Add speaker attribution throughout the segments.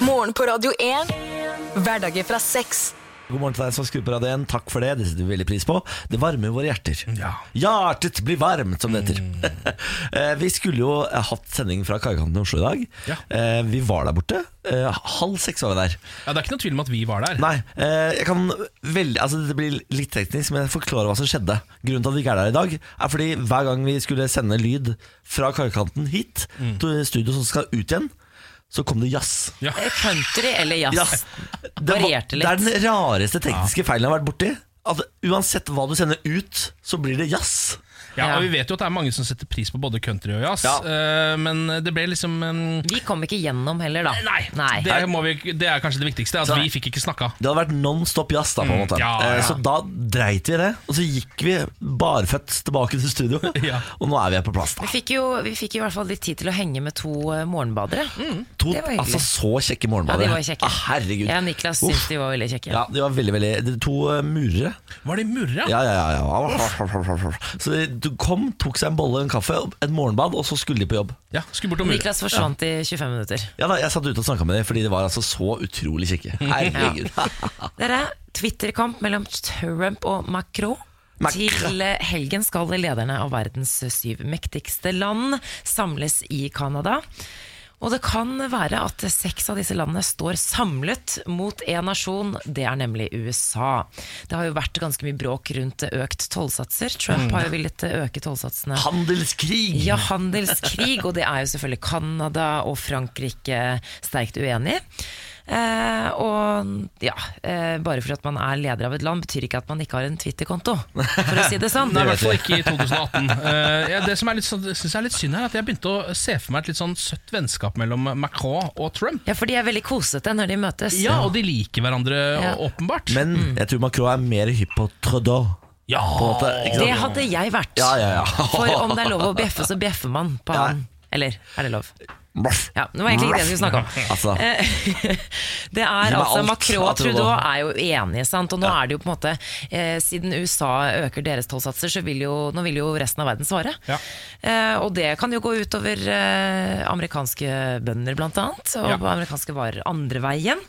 Speaker 1: Morgen på Radio 1. Hverdager fra seks.
Speaker 2: God morgen til deg som skrur på radioen. Takk for det. Det setter vi veldig pris på. Det varmer våre hjerter. Hjertet blir varmt, som det heter. Eh, vi skulle jo hatt sending fra Kaikanten i Oslo i dag.
Speaker 3: Ja.
Speaker 2: Eh, Vi var der borte. Eh, Halv seks var vi der.
Speaker 3: Ja, det er ikke noe tvil om at vi var der.
Speaker 2: Nei, eh, jeg kan veldig Altså det blir litt teknisk, men jeg forklarer hva som skjedde. Grunnen til at vi ikke er der i dag, er fordi hver gang vi skulle sende lyd fra kaikanten hit, til studio som skal ut igjen, så kom det jazz.
Speaker 3: Ja.
Speaker 4: Eh, Country eller jazz?
Speaker 2: Jazz. Det, var,
Speaker 4: Varierte
Speaker 2: det
Speaker 4: litt.
Speaker 2: er den rareste tekniske feilen jeg har vært borti. At uansett hva du sender ut, så blir det jazz.
Speaker 3: Ja,
Speaker 4: Ja.
Speaker 3: og Vi vet jo at det er mange som setter pris på både country og jazz,
Speaker 2: Ja.
Speaker 3: eh, men det ble liksom en
Speaker 4: Vi kom ikke gjennom heller, da.
Speaker 3: Nei, Det, må vi, det er kanskje det viktigste. At
Speaker 2: Nei.
Speaker 3: vi fikk ikke snakka.
Speaker 2: Det hadde vært non stop jazz, da, på en
Speaker 3: Mm,
Speaker 2: måte.
Speaker 3: ja,
Speaker 2: Eh,
Speaker 3: ja.
Speaker 2: Så da dreit vi i det, og så gikk vi barføtt tilbake til studio.
Speaker 3: Ja.
Speaker 2: Og nå er vi her på plass, da.
Speaker 4: Vi fikk, jo, vi fikk jo i hvert fall litt tid til å henge med to eh, morgenbadere.
Speaker 2: To,
Speaker 4: Det var hyggelig.
Speaker 2: altså så kjekke
Speaker 4: Ja,
Speaker 2: morgenbadere.
Speaker 4: de var kjekke.
Speaker 2: Ah, herregud.
Speaker 4: Jeg og Niklas
Speaker 2: Uff.
Speaker 4: syntes de var veldig kjekke.
Speaker 2: Ja, de var veldig, veldig De to eh, murere.
Speaker 3: Var det murra?
Speaker 2: Ja, ja, ja. ja. Så de- de kom, tok seg en bolle og en kaffe, et morgenbad, og så skulle de på jobb.
Speaker 3: Ja, skulle bort og murre.
Speaker 4: Niklas forsvant i 25 minutter.
Speaker 2: Ja da, Jeg satt ute og snakka med dem, fordi de var altså så utrolig kjekke. Herregud.
Speaker 4: Dere, Twitter-kamp mellom Trump og Macron.
Speaker 2: Mac-
Speaker 4: Til eh, helgen skal lederne av verdens syv mektigste land samles i Canada. Og det kan være at seks av disse landene står samlet mot én nasjon, det er nemlig USA. Det har jo vært ganske mye bråk rundt økt tollsatser. Trump har jo villet øke tollsatsene
Speaker 2: Handelskrig!
Speaker 4: ja, handelskrig, og det er jo selvfølgelig Canada og Frankrike sterkt uenig i. Eh, og ja, eh, bare for at man er leder av et land, betyr ikke at man ikke har en Twitter-konto, for å si det sånn.
Speaker 3: Nei, i hvert fall ikke i 2018. Eh, ja, det som er litt, sånn- jeg synes er litt synd her, er at jeg begynte å se for meg et litt sånn søtt vennskap mellom Macron og Trump.
Speaker 4: Ja, for de er veldig kosete når de møtes.
Speaker 3: Ja, Og de liker hverandre
Speaker 4: Ja.
Speaker 3: å- åpenbart.
Speaker 2: Men
Speaker 4: Mm.
Speaker 2: jeg tror Macron er mer hypp på Trudeau.
Speaker 3: ja.
Speaker 2: På en måte, ikke
Speaker 4: Det
Speaker 2: sant?
Speaker 4: hadde jeg vært.
Speaker 2: Ja, ja, ja.
Speaker 4: For om det er lov å bjeffe, så bjeffer man på han. Eller er det lov?
Speaker 2: Ruff.
Speaker 4: Ja, det var egentlig ikke det jeg skulle snakke om.
Speaker 2: Altså,
Speaker 4: det
Speaker 2: Gi
Speaker 4: er
Speaker 2: meg
Speaker 4: altså
Speaker 2: alt
Speaker 4: Macron og
Speaker 2: av Trudeau.
Speaker 4: Trudeau er jo enige, sant? og nå er det jo på en måte eh, Siden USA øker deres tollsatser, så vil jo, nå vil jo resten av verden svare.
Speaker 3: Ja.
Speaker 4: Eh, og det kan jo gå utover eh, amerikanske bønder, blant annet, og
Speaker 3: Ja.
Speaker 4: amerikanske varer andre veien.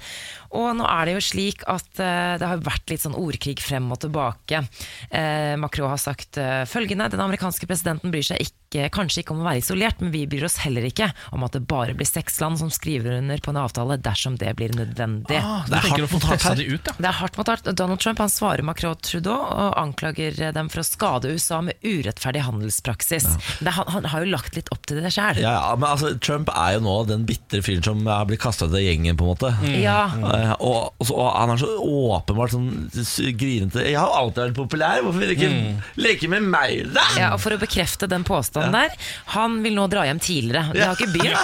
Speaker 4: Og nå er det jo slik at eh, det har vært litt sånn ordkrig frem og tilbake. Eh, Macron har sagt eh, følgende Den amerikanske presidenten bryr seg ikke, kanskje ikke om å være isolert, men vi bryr oss heller ikke om at det bare blir seks land som skriver under på en avtale dersom det blir nødvendig.
Speaker 3: Ah,
Speaker 2: Det
Speaker 3: du
Speaker 2: er hardt
Speaker 3: tenker å få
Speaker 2: mot hardt
Speaker 3: pressa
Speaker 2: her.
Speaker 3: de ut, ja.
Speaker 4: Det er hardt mot hardt. Donald Trump han svarer Macron og Trudeau og anklager dem for å skade USA med urettferdig handelspraksis. Det, han, han har jo lagt litt opp til det sjæl.
Speaker 2: ja, ja, men altså, Trump er jo nå den bitre fyren som har blitt kasta ut av gjengen, på en måte.
Speaker 4: Mm. Ja.
Speaker 2: Eh, og, og, så, og han er så åpenbart sånn s- grinete. 'Jeg har alltid vært populær, hvorfor vil du ikke leke med meg, da?'
Speaker 4: Mm. Ja, og For å bekrefte den påstanden der, han vil nå dra hjem tidligere. Det har ikke begynt.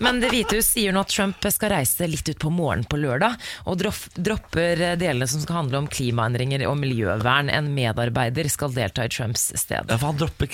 Speaker 4: Men Det hvite hus sier nå at Trump skal reise litt ut på morgenen på lørdag, og droff- dropper delene som skal handle om klimaendringer og miljøvern. En medarbeider skal delta i Trumps sted.
Speaker 2: Ja, for han dropper
Speaker 4: Det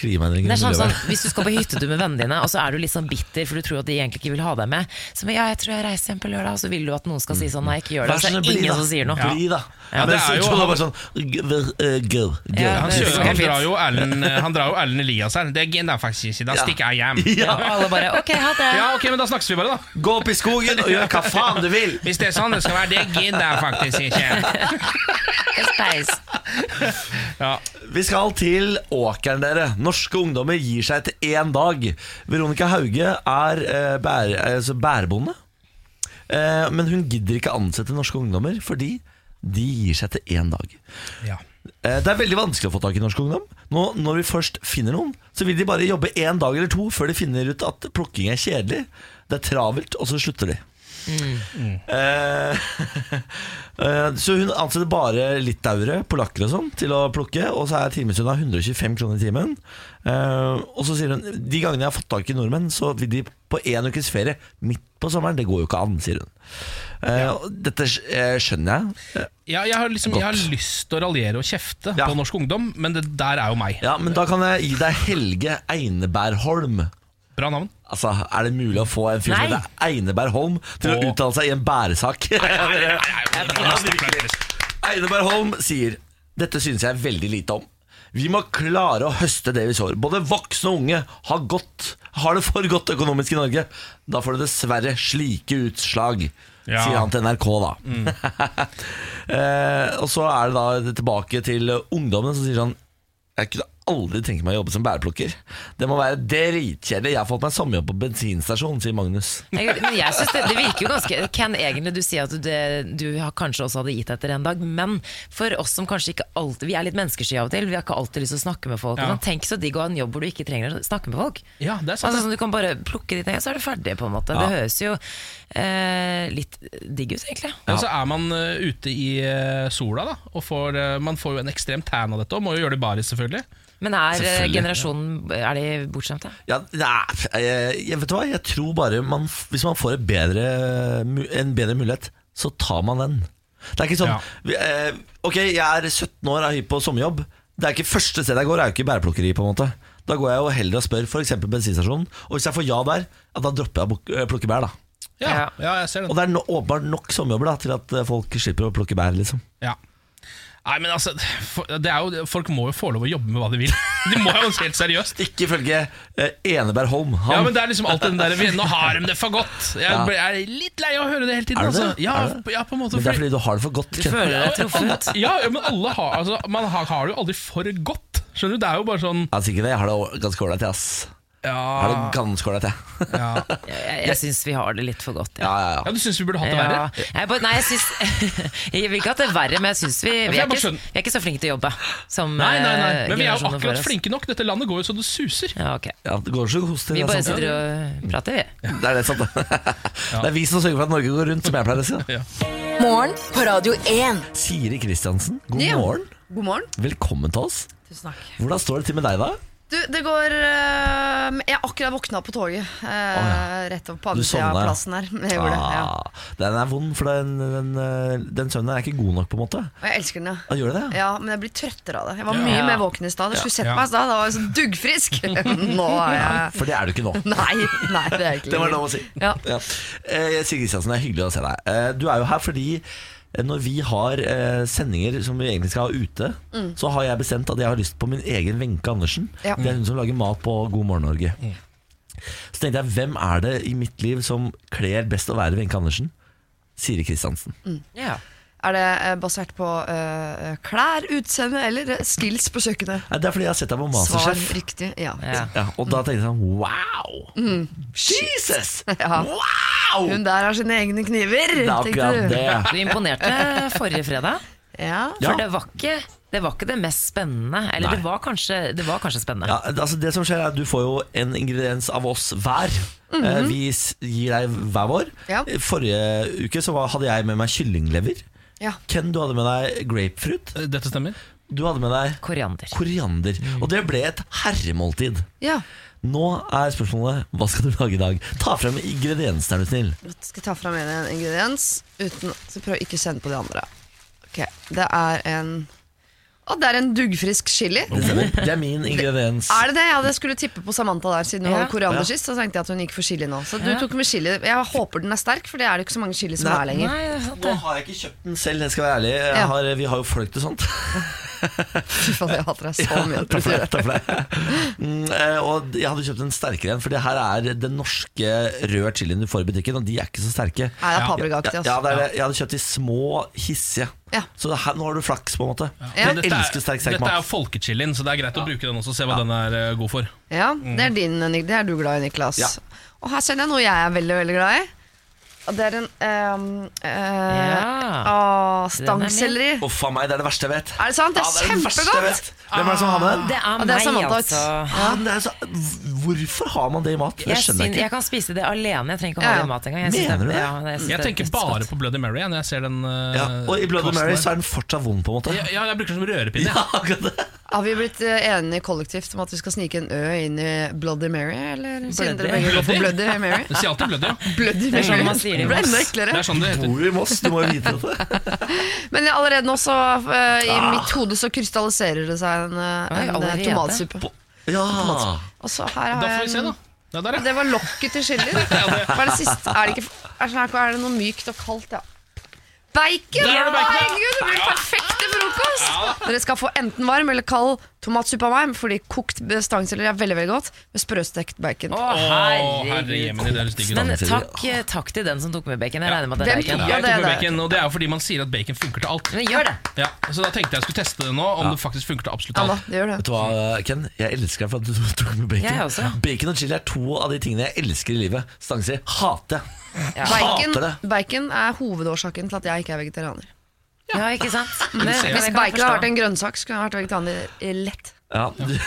Speaker 4: er
Speaker 2: klimaendringene. i
Speaker 4: sånn,
Speaker 2: miljøet.
Speaker 4: sånn, Hvis du skal på hyttetur med vennene dine, og så er du litt sånn bitter for du tror at de egentlig ikke vil ha deg med, så men, ja, jeg tror jeg reiser hjem på lørdag, og så vil du at noen skal si sånn nei, ikke gjør det.
Speaker 2: Vær
Speaker 4: Så
Speaker 2: snill,
Speaker 4: er det
Speaker 2: bli,
Speaker 4: ingen
Speaker 2: da.
Speaker 4: som sier noe.
Speaker 2: Bli, da.
Speaker 3: Ja, det er
Speaker 2: men
Speaker 3: jo-
Speaker 2: så tror jeg bare sånn g- v- eh, Go, go.
Speaker 4: Ja,
Speaker 3: Han,
Speaker 4: det
Speaker 3: kjører,
Speaker 4: er
Speaker 3: han,
Speaker 4: fint.
Speaker 3: drar jo Erlend, han drar jo Erlend Elias her. Det gidder jeg faktisk ikke. Da
Speaker 2: Ja.
Speaker 3: stikker jeg hjem.
Speaker 4: Ja, og alle bare ok, ha det.
Speaker 3: Ja, ok, men Da snakkes vi bare, da.
Speaker 2: Gå opp i skogen og gjør hva faen du vil!
Speaker 3: Hvis det er sånn det skal være. Det gidder jeg faktisk ikke.
Speaker 4: It's nice.
Speaker 3: Ja.
Speaker 2: Vi skal til Åkeren, dere. Norske ungdommer gir seg etter én dag. Veronica Hauge er eh, bære, altså bærebonde, eh, men hun gidder ikke ansette norske ungdommer fordi de gir seg etter én dag.
Speaker 3: Ja.
Speaker 2: Eh, Det er veldig vanskelig å få tak i norsk ungdom. Nå, når vi først finner noen, så vil de bare jobbe én dag eller to før de finner ut at plukking er kjedelig. Det er travelt, og så slutter de. Eh, eh, så hun ansetter bare litauere, polakker og sånn, til å plukke. Og så er timesunda 125 kroner i timen. Eh, og så sier hun de gangene jeg har fått tak i nordmenn, så vil de på én ukes ferie midt på sommeren. Det går jo ikke an, sier hun. Eh, og Dette eh, skjønner jeg.
Speaker 3: Ja, jeg, har liksom, jeg har
Speaker 2: Godt.
Speaker 3: lyst til å raljere og kjefte
Speaker 2: Ja.
Speaker 3: på norsk ungdom, men det der er jo meg.
Speaker 2: Ja, men da kan jeg gi deg Helge Einebergholm.
Speaker 3: Bra navn.
Speaker 2: Altså, Er det mulig å få en fyr som
Speaker 4: Nei.
Speaker 2: heter Einebergholm til å
Speaker 3: Åh.
Speaker 2: uttale seg i en bæresak? Einebergholm sier Dette synes jeg veldig lite om. Vi må klare å høste det vi sår. Både voksne og unge har godt har det for godt økonomisk i Norge. Da får det dessverre slike utslag,
Speaker 3: Ja.
Speaker 2: sier han til NRK, da. eh, og så er det da tilbake til ungdommen som sier sånn Jeg kunne aldri tenke meg å jobbe som bæreplukker. Det må være dritkjedelig. Jeg har fått meg sommerjobb på bensinstasjon, sier Magnus.
Speaker 4: Jeg, men jeg synes det, det virker jo ganske Ken, egentlig du sier at du, det, du har kanskje også hadde gitt etter en dag, men for oss som kanskje ikke alltid Vi er litt menneskesky av og til, vi har ikke alltid lyst til å snakke med folk.
Speaker 3: Ja.
Speaker 4: Men tenk så digg å ha en jobb hvor du ikke trenger å snakke med folk.
Speaker 3: Ja, det er sant.
Speaker 4: Altså sånn Du kan bare plukke ditt eget, så er du ferdig, på en måte. Det høres jo eh, litt digg ut, egentlig.
Speaker 3: Og så er man eh, ute i eh, sola, da. Og får, eh, man får jo en ekstrem tan av dette, og må jo gjøre det i baris, selvfølgelig.
Speaker 4: Men er eh,
Speaker 2: Selvfølgelig.
Speaker 4: generasjonen Er de bortskjemte?
Speaker 2: Ja, nei, jeg, jeg vet du hva, jeg tror bare man, Hvis man får et bedre, mu- en bedre mulighet Så tar man den Det er ikke sånn
Speaker 3: Ja.
Speaker 2: vi- eh, Ok, jeg er 17 år og er hypp på sommerjobb Det er ikke første sted jeg går, er jo ikke bæreplukkeri på en måte Da går jeg jo heller og spør for eksempel bensinstasjonen Og hvis jeg får ja der, ja, da dropper jeg å buk- eh, plukke bær da
Speaker 3: Ja,
Speaker 4: Ja.
Speaker 3: ja. jeg ser
Speaker 2: Og
Speaker 3: den.
Speaker 2: det er no, åpenbart nok sommerjobber da Til at eh, folk slipper å plukke bær liksom
Speaker 3: Ja. Nei, men altså, for- det er jo, Folk må jo få lov å jobbe med hva de vil. De må jo helt seriøst.
Speaker 2: Ikke følge eh, Eneberg Holm han,
Speaker 3: Ja, men det er liksom alltid den der vi- Nå har de det for godt. Jeg
Speaker 2: Ja.
Speaker 3: ble- jeg er litt lei av å høre det hele tiden.
Speaker 2: Er det
Speaker 3: Altså.
Speaker 2: det?
Speaker 3: Ja,
Speaker 2: Er det?
Speaker 3: ja, på en måte
Speaker 2: Men det er
Speaker 3: fordi-
Speaker 2: fordi du har det for godt Ken.
Speaker 4: Føler deg truffet?
Speaker 3: Ja, ja, men alle har, altså, man har, har det jo aldri for godt. Skjønner du, Det er jo bare sånn
Speaker 2: Altså ikke det, jeg har det ganske ordentlig ass Jeg har det
Speaker 3: Ja,
Speaker 2: ganske ordentlig jeg.
Speaker 3: ja.
Speaker 4: Jeg, jeg syns vi har det litt for godt.
Speaker 2: Ja, ja, ja
Speaker 3: ja du syns vi burde hatt det verre?
Speaker 4: Ja. Jeg, bare- nei, jeg, syns, jeg vil ikke at det er verre, men jeg syns vi, vi, er
Speaker 3: jeg bare
Speaker 4: ikke,
Speaker 3: skjønner.
Speaker 4: vi er ikke så flinke til å jobbe som
Speaker 3: Nei, nei, nei.
Speaker 4: eh,
Speaker 3: Men vi er jo
Speaker 4: generasjonen før
Speaker 3: akkurat
Speaker 4: oss.
Speaker 3: flinke nok. Dette landet går jo så det suser.
Speaker 4: Ja, ok.
Speaker 2: Ja, det går så koster
Speaker 4: Vi
Speaker 2: det er
Speaker 4: bare
Speaker 2: sant.
Speaker 4: sitter og prater, vi.
Speaker 2: Det er det sant Det er vi som sørger for at Norge går rundt Som jeg pleier å si da.
Speaker 1: Morgen på Radio 1.
Speaker 2: Siri Kristiansen, god
Speaker 5: Ja.
Speaker 2: morgen
Speaker 5: God morgen.
Speaker 2: Velkommen til oss
Speaker 5: Tusen takk.
Speaker 2: Hvordan står det til med deg da?
Speaker 5: Du, det går eh, Jeg akkurat våkna på toget. eh, Rett opp
Speaker 2: Du
Speaker 5: på andre sida av
Speaker 2: sovna, ja.
Speaker 5: plassen her. Jeg gjorde det, ja.
Speaker 2: Ah, Den er vond, for den, den, eh, den søvnen er ikke god nok på en måte
Speaker 5: Og jeg elsker den, ja.
Speaker 2: ah, Gjør det det?
Speaker 5: Ja, Men jeg blir trøttere av det. Jeg var
Speaker 3: Ja.
Speaker 5: mye
Speaker 4: Ja.
Speaker 5: mer våken i stad. Du skulle sett
Speaker 3: Ja.
Speaker 5: meg i stad, da var jeg så duggfrisk. Nå er jeg
Speaker 2: For det er du ikke nå
Speaker 5: Nei, nei, det er jeg ikke
Speaker 2: Det var lov
Speaker 5: lenger.
Speaker 2: å si
Speaker 5: Ja.
Speaker 2: ja. Eh, Siri Kristiansen, det er hyggelig å se deg Eh, Du er jo her fordi eh, når vi har eh, sendinger som vi egentlig skal ha ute Så har jeg bestemt at jeg har lyst på min egen Venke Andersen
Speaker 5: Mm. Ja.
Speaker 2: Det er hun som lager mat på God Morgen Norge Så tenkte jeg, hvem er det i mitt liv som kler best å være Venke Andersen? Siri Kristiansen
Speaker 5: Mm.
Speaker 4: Ja.
Speaker 5: Er det eh, basert på eh, klær, utseende eller eh, skills på kjøkkenet?
Speaker 2: Nei, Det er fordi jeg har sett deg på
Speaker 5: Svar
Speaker 2: Masterchef
Speaker 5: riktig. Ja.
Speaker 4: Ja.
Speaker 2: altså, ja, Og da tenkte jeg sånn, wow Jesus,
Speaker 5: Mm. Ja.
Speaker 2: wow
Speaker 5: Hun der har sine egne kniver,
Speaker 2: Det er
Speaker 5: tenkte
Speaker 2: akkurat
Speaker 5: du.
Speaker 2: det
Speaker 4: Du imponerte forrige fredag,
Speaker 5: Ja.
Speaker 2: Ja.
Speaker 4: for det var ikke det, var ikke det mest spennende. Eller det var, kanskje, det var kanskje spennende.
Speaker 2: Ja, altså det som skjer er at Du får jo en ingrediens av oss hver. Eh, Vi s- gir deg hver vår.
Speaker 5: Mhm. Ja.
Speaker 2: Forrige uke så var, hadde jeg med meg kyllinglever.
Speaker 5: Ja.
Speaker 2: Ken, du hadde med deg grapefruit.
Speaker 3: Eh, Dette stemmer?
Speaker 2: Du hadde med deg
Speaker 4: Koriander.
Speaker 2: koriander.
Speaker 5: Mm.
Speaker 2: Og det ble et herremåltid.
Speaker 5: ja.
Speaker 2: Nå er spørsmålet hva skal du lage i dag? Ta frem ingrediensene, er du snill.
Speaker 5: Jeg skal ta fram en ingrediens uten Så prøv å ikke kjenne på de andre. Ok, Det er en Å, det er en duggfrisk chili.
Speaker 2: Det stemmer. Det er min ingrediens.
Speaker 5: Er det det? Ja, det skulle tippe på Samantha der, siden hun
Speaker 4: Ja.
Speaker 5: hadde koriander
Speaker 2: Ja.
Speaker 5: sist. Så tenkte jeg at hun gikk for chili nå. Så du
Speaker 4: Ja.
Speaker 5: tok med chili. Jeg håper den er sterk, for det er det ikke så mange chili som
Speaker 2: Nei.
Speaker 5: er lenger.
Speaker 4: Nei, det er sant
Speaker 2: Nå
Speaker 4: det.
Speaker 2: har jeg ikke kjøpt den selv, jeg skal være ærlig. Jeg
Speaker 5: Ja.
Speaker 2: har, vi har jo folk til sånt.
Speaker 5: Fy faen, jeg hater deg så mye.
Speaker 2: Takk for det. Takk for det. Mm, eh, og jeg hadde kjøpt en sterkere en, for det her er den norske røde chilien du får i butikken, og de er ikke så sterke.
Speaker 5: Nei, det er
Speaker 3: Ja.
Speaker 5: paprikaaktig,
Speaker 2: Ja,
Speaker 5: altså.
Speaker 2: ja, det er det. Jeg hadde kjøpt de små, hissige.
Speaker 5: Ja.
Speaker 2: Så det her, nå har du flaks, på en måte.
Speaker 5: Ja.
Speaker 2: Jeg elsker sterk sterk
Speaker 3: Dette er
Speaker 2: mat.
Speaker 3: jo folkechilien, så det er greit å bruke den også. Se hva den er eh, god for.
Speaker 5: Ja, det er din, Nik- det er du glad i, Niklas.
Speaker 2: Mhm. Ja.
Speaker 5: Og her kjenner jeg noe jeg er veldig, veldig glad i. Og det er en um,
Speaker 4: Ja. Den er min.
Speaker 5: stangselleri.
Speaker 2: Å, faen meg, det er det verste jeg vet.
Speaker 5: Er det sant? Det er
Speaker 2: Ja, det verste jeg
Speaker 5: kjempegodt.
Speaker 2: vet. Hvem er det som har med den?
Speaker 4: Det er
Speaker 5: Og det er
Speaker 4: meg,
Speaker 5: Samantha.
Speaker 4: altså.
Speaker 2: Ja, det er så, hvorfor har man det i mat? Det
Speaker 4: Jeg,
Speaker 2: skjønner
Speaker 4: syns-
Speaker 2: jeg
Speaker 4: jeg
Speaker 2: ikke.
Speaker 4: kan spise det alene, jeg trenger ikke å
Speaker 5: Ja,
Speaker 4: ha
Speaker 5: ja.
Speaker 4: det i mat engang. Jeg syns
Speaker 2: Mener
Speaker 4: det-
Speaker 2: du det?
Speaker 4: ja, jeg syns
Speaker 3: Jeg
Speaker 4: det er
Speaker 3: tenker
Speaker 4: dødsgodt.
Speaker 3: bare på Bloody Mary jeg, når jeg ser den. eh,
Speaker 2: Ja, og i Bloody
Speaker 3: kassen
Speaker 2: Mary
Speaker 3: der.
Speaker 2: så er den fortsatt vond, på en måte.
Speaker 3: ja, ja, jeg bruker den som rørepinne.
Speaker 2: Ja,
Speaker 3: jeg.
Speaker 2: akkurat det.
Speaker 5: Har vi blitt eh, enige kollektivt om at vi skal snike en Ø inn i Bloody Mary? Eller siden dere begge går for Bloody Mary?
Speaker 3: Den sier alltid Bloody. Ja.
Speaker 5: Bloody
Speaker 4: Det er sånn
Speaker 5: Mary.
Speaker 4: man sier det i
Speaker 5: Det ble
Speaker 4: Moss.
Speaker 5: enda
Speaker 3: Det
Speaker 5: eklere.
Speaker 3: er sånn det heter.
Speaker 2: Bor jo i Moss, du må jo vite dette.
Speaker 5: Men allerede nå så eh, i mitt hode så krystalliserer det seg en, eh,
Speaker 4: Oi,
Speaker 5: en eh,
Speaker 4: allerede?
Speaker 5: tomatsuppe.
Speaker 2: Ja.
Speaker 5: Og så her
Speaker 3: Da får
Speaker 5: har
Speaker 3: vi
Speaker 5: jeg
Speaker 3: se, da.
Speaker 5: en
Speaker 3: Ja, der, ja.
Speaker 5: Det var lokket til chili. Hva er det siste? Er det, ikke, er, det sånn her- er det noe mykt og kaldt, ja? Bacon!
Speaker 3: Der er det bacon, ja.
Speaker 5: Herregud, det blir perfekt! til frokost! Dere skal få enten varm eller kald tomatsuppe av meg, fordi kokt bestangselleri er veldig veldig godt med sprøstekt bacon.
Speaker 4: Å,
Speaker 3: Å, herre
Speaker 4: herregud.
Speaker 3: jemini, dere stikker
Speaker 4: Men
Speaker 3: da.
Speaker 4: takk, eh, takk til den som tok med bacon. Jeg regner med at det er
Speaker 5: Hvem
Speaker 4: bacon.
Speaker 5: tok-
Speaker 4: da.
Speaker 5: Ja,
Speaker 3: Jeg
Speaker 5: det
Speaker 3: tok
Speaker 5: er
Speaker 3: med
Speaker 5: det.
Speaker 3: bacon, og det er jo fordi man sier at bacon funker til alt.
Speaker 4: Men gjør det.
Speaker 3: Ja, så da tenkte jeg skulle teste det nå, om det faktisk funker til absolutt
Speaker 5: Ja da,
Speaker 3: alt.
Speaker 5: det gjør det.
Speaker 2: Vet du hva, Ken? Jeg elsker deg for at du tok med bacon.
Speaker 4: Jeg også.
Speaker 2: Bacon og chili er to av de tingene jeg elsker i livet. Stangselleri hater jeg. Hater
Speaker 5: Bacon,
Speaker 2: det.
Speaker 5: bacon er hovedårsaken til at jeg ikke er vegetarianer.
Speaker 4: Ja, ikke sant? Det,
Speaker 3: ser.
Speaker 4: det
Speaker 5: Hvis
Speaker 4: kan jeg
Speaker 5: bacon hadde
Speaker 4: forstå.
Speaker 5: vært en grønnsak, skulle jeg vært vegetarianer i- lett.
Speaker 2: Ja. du-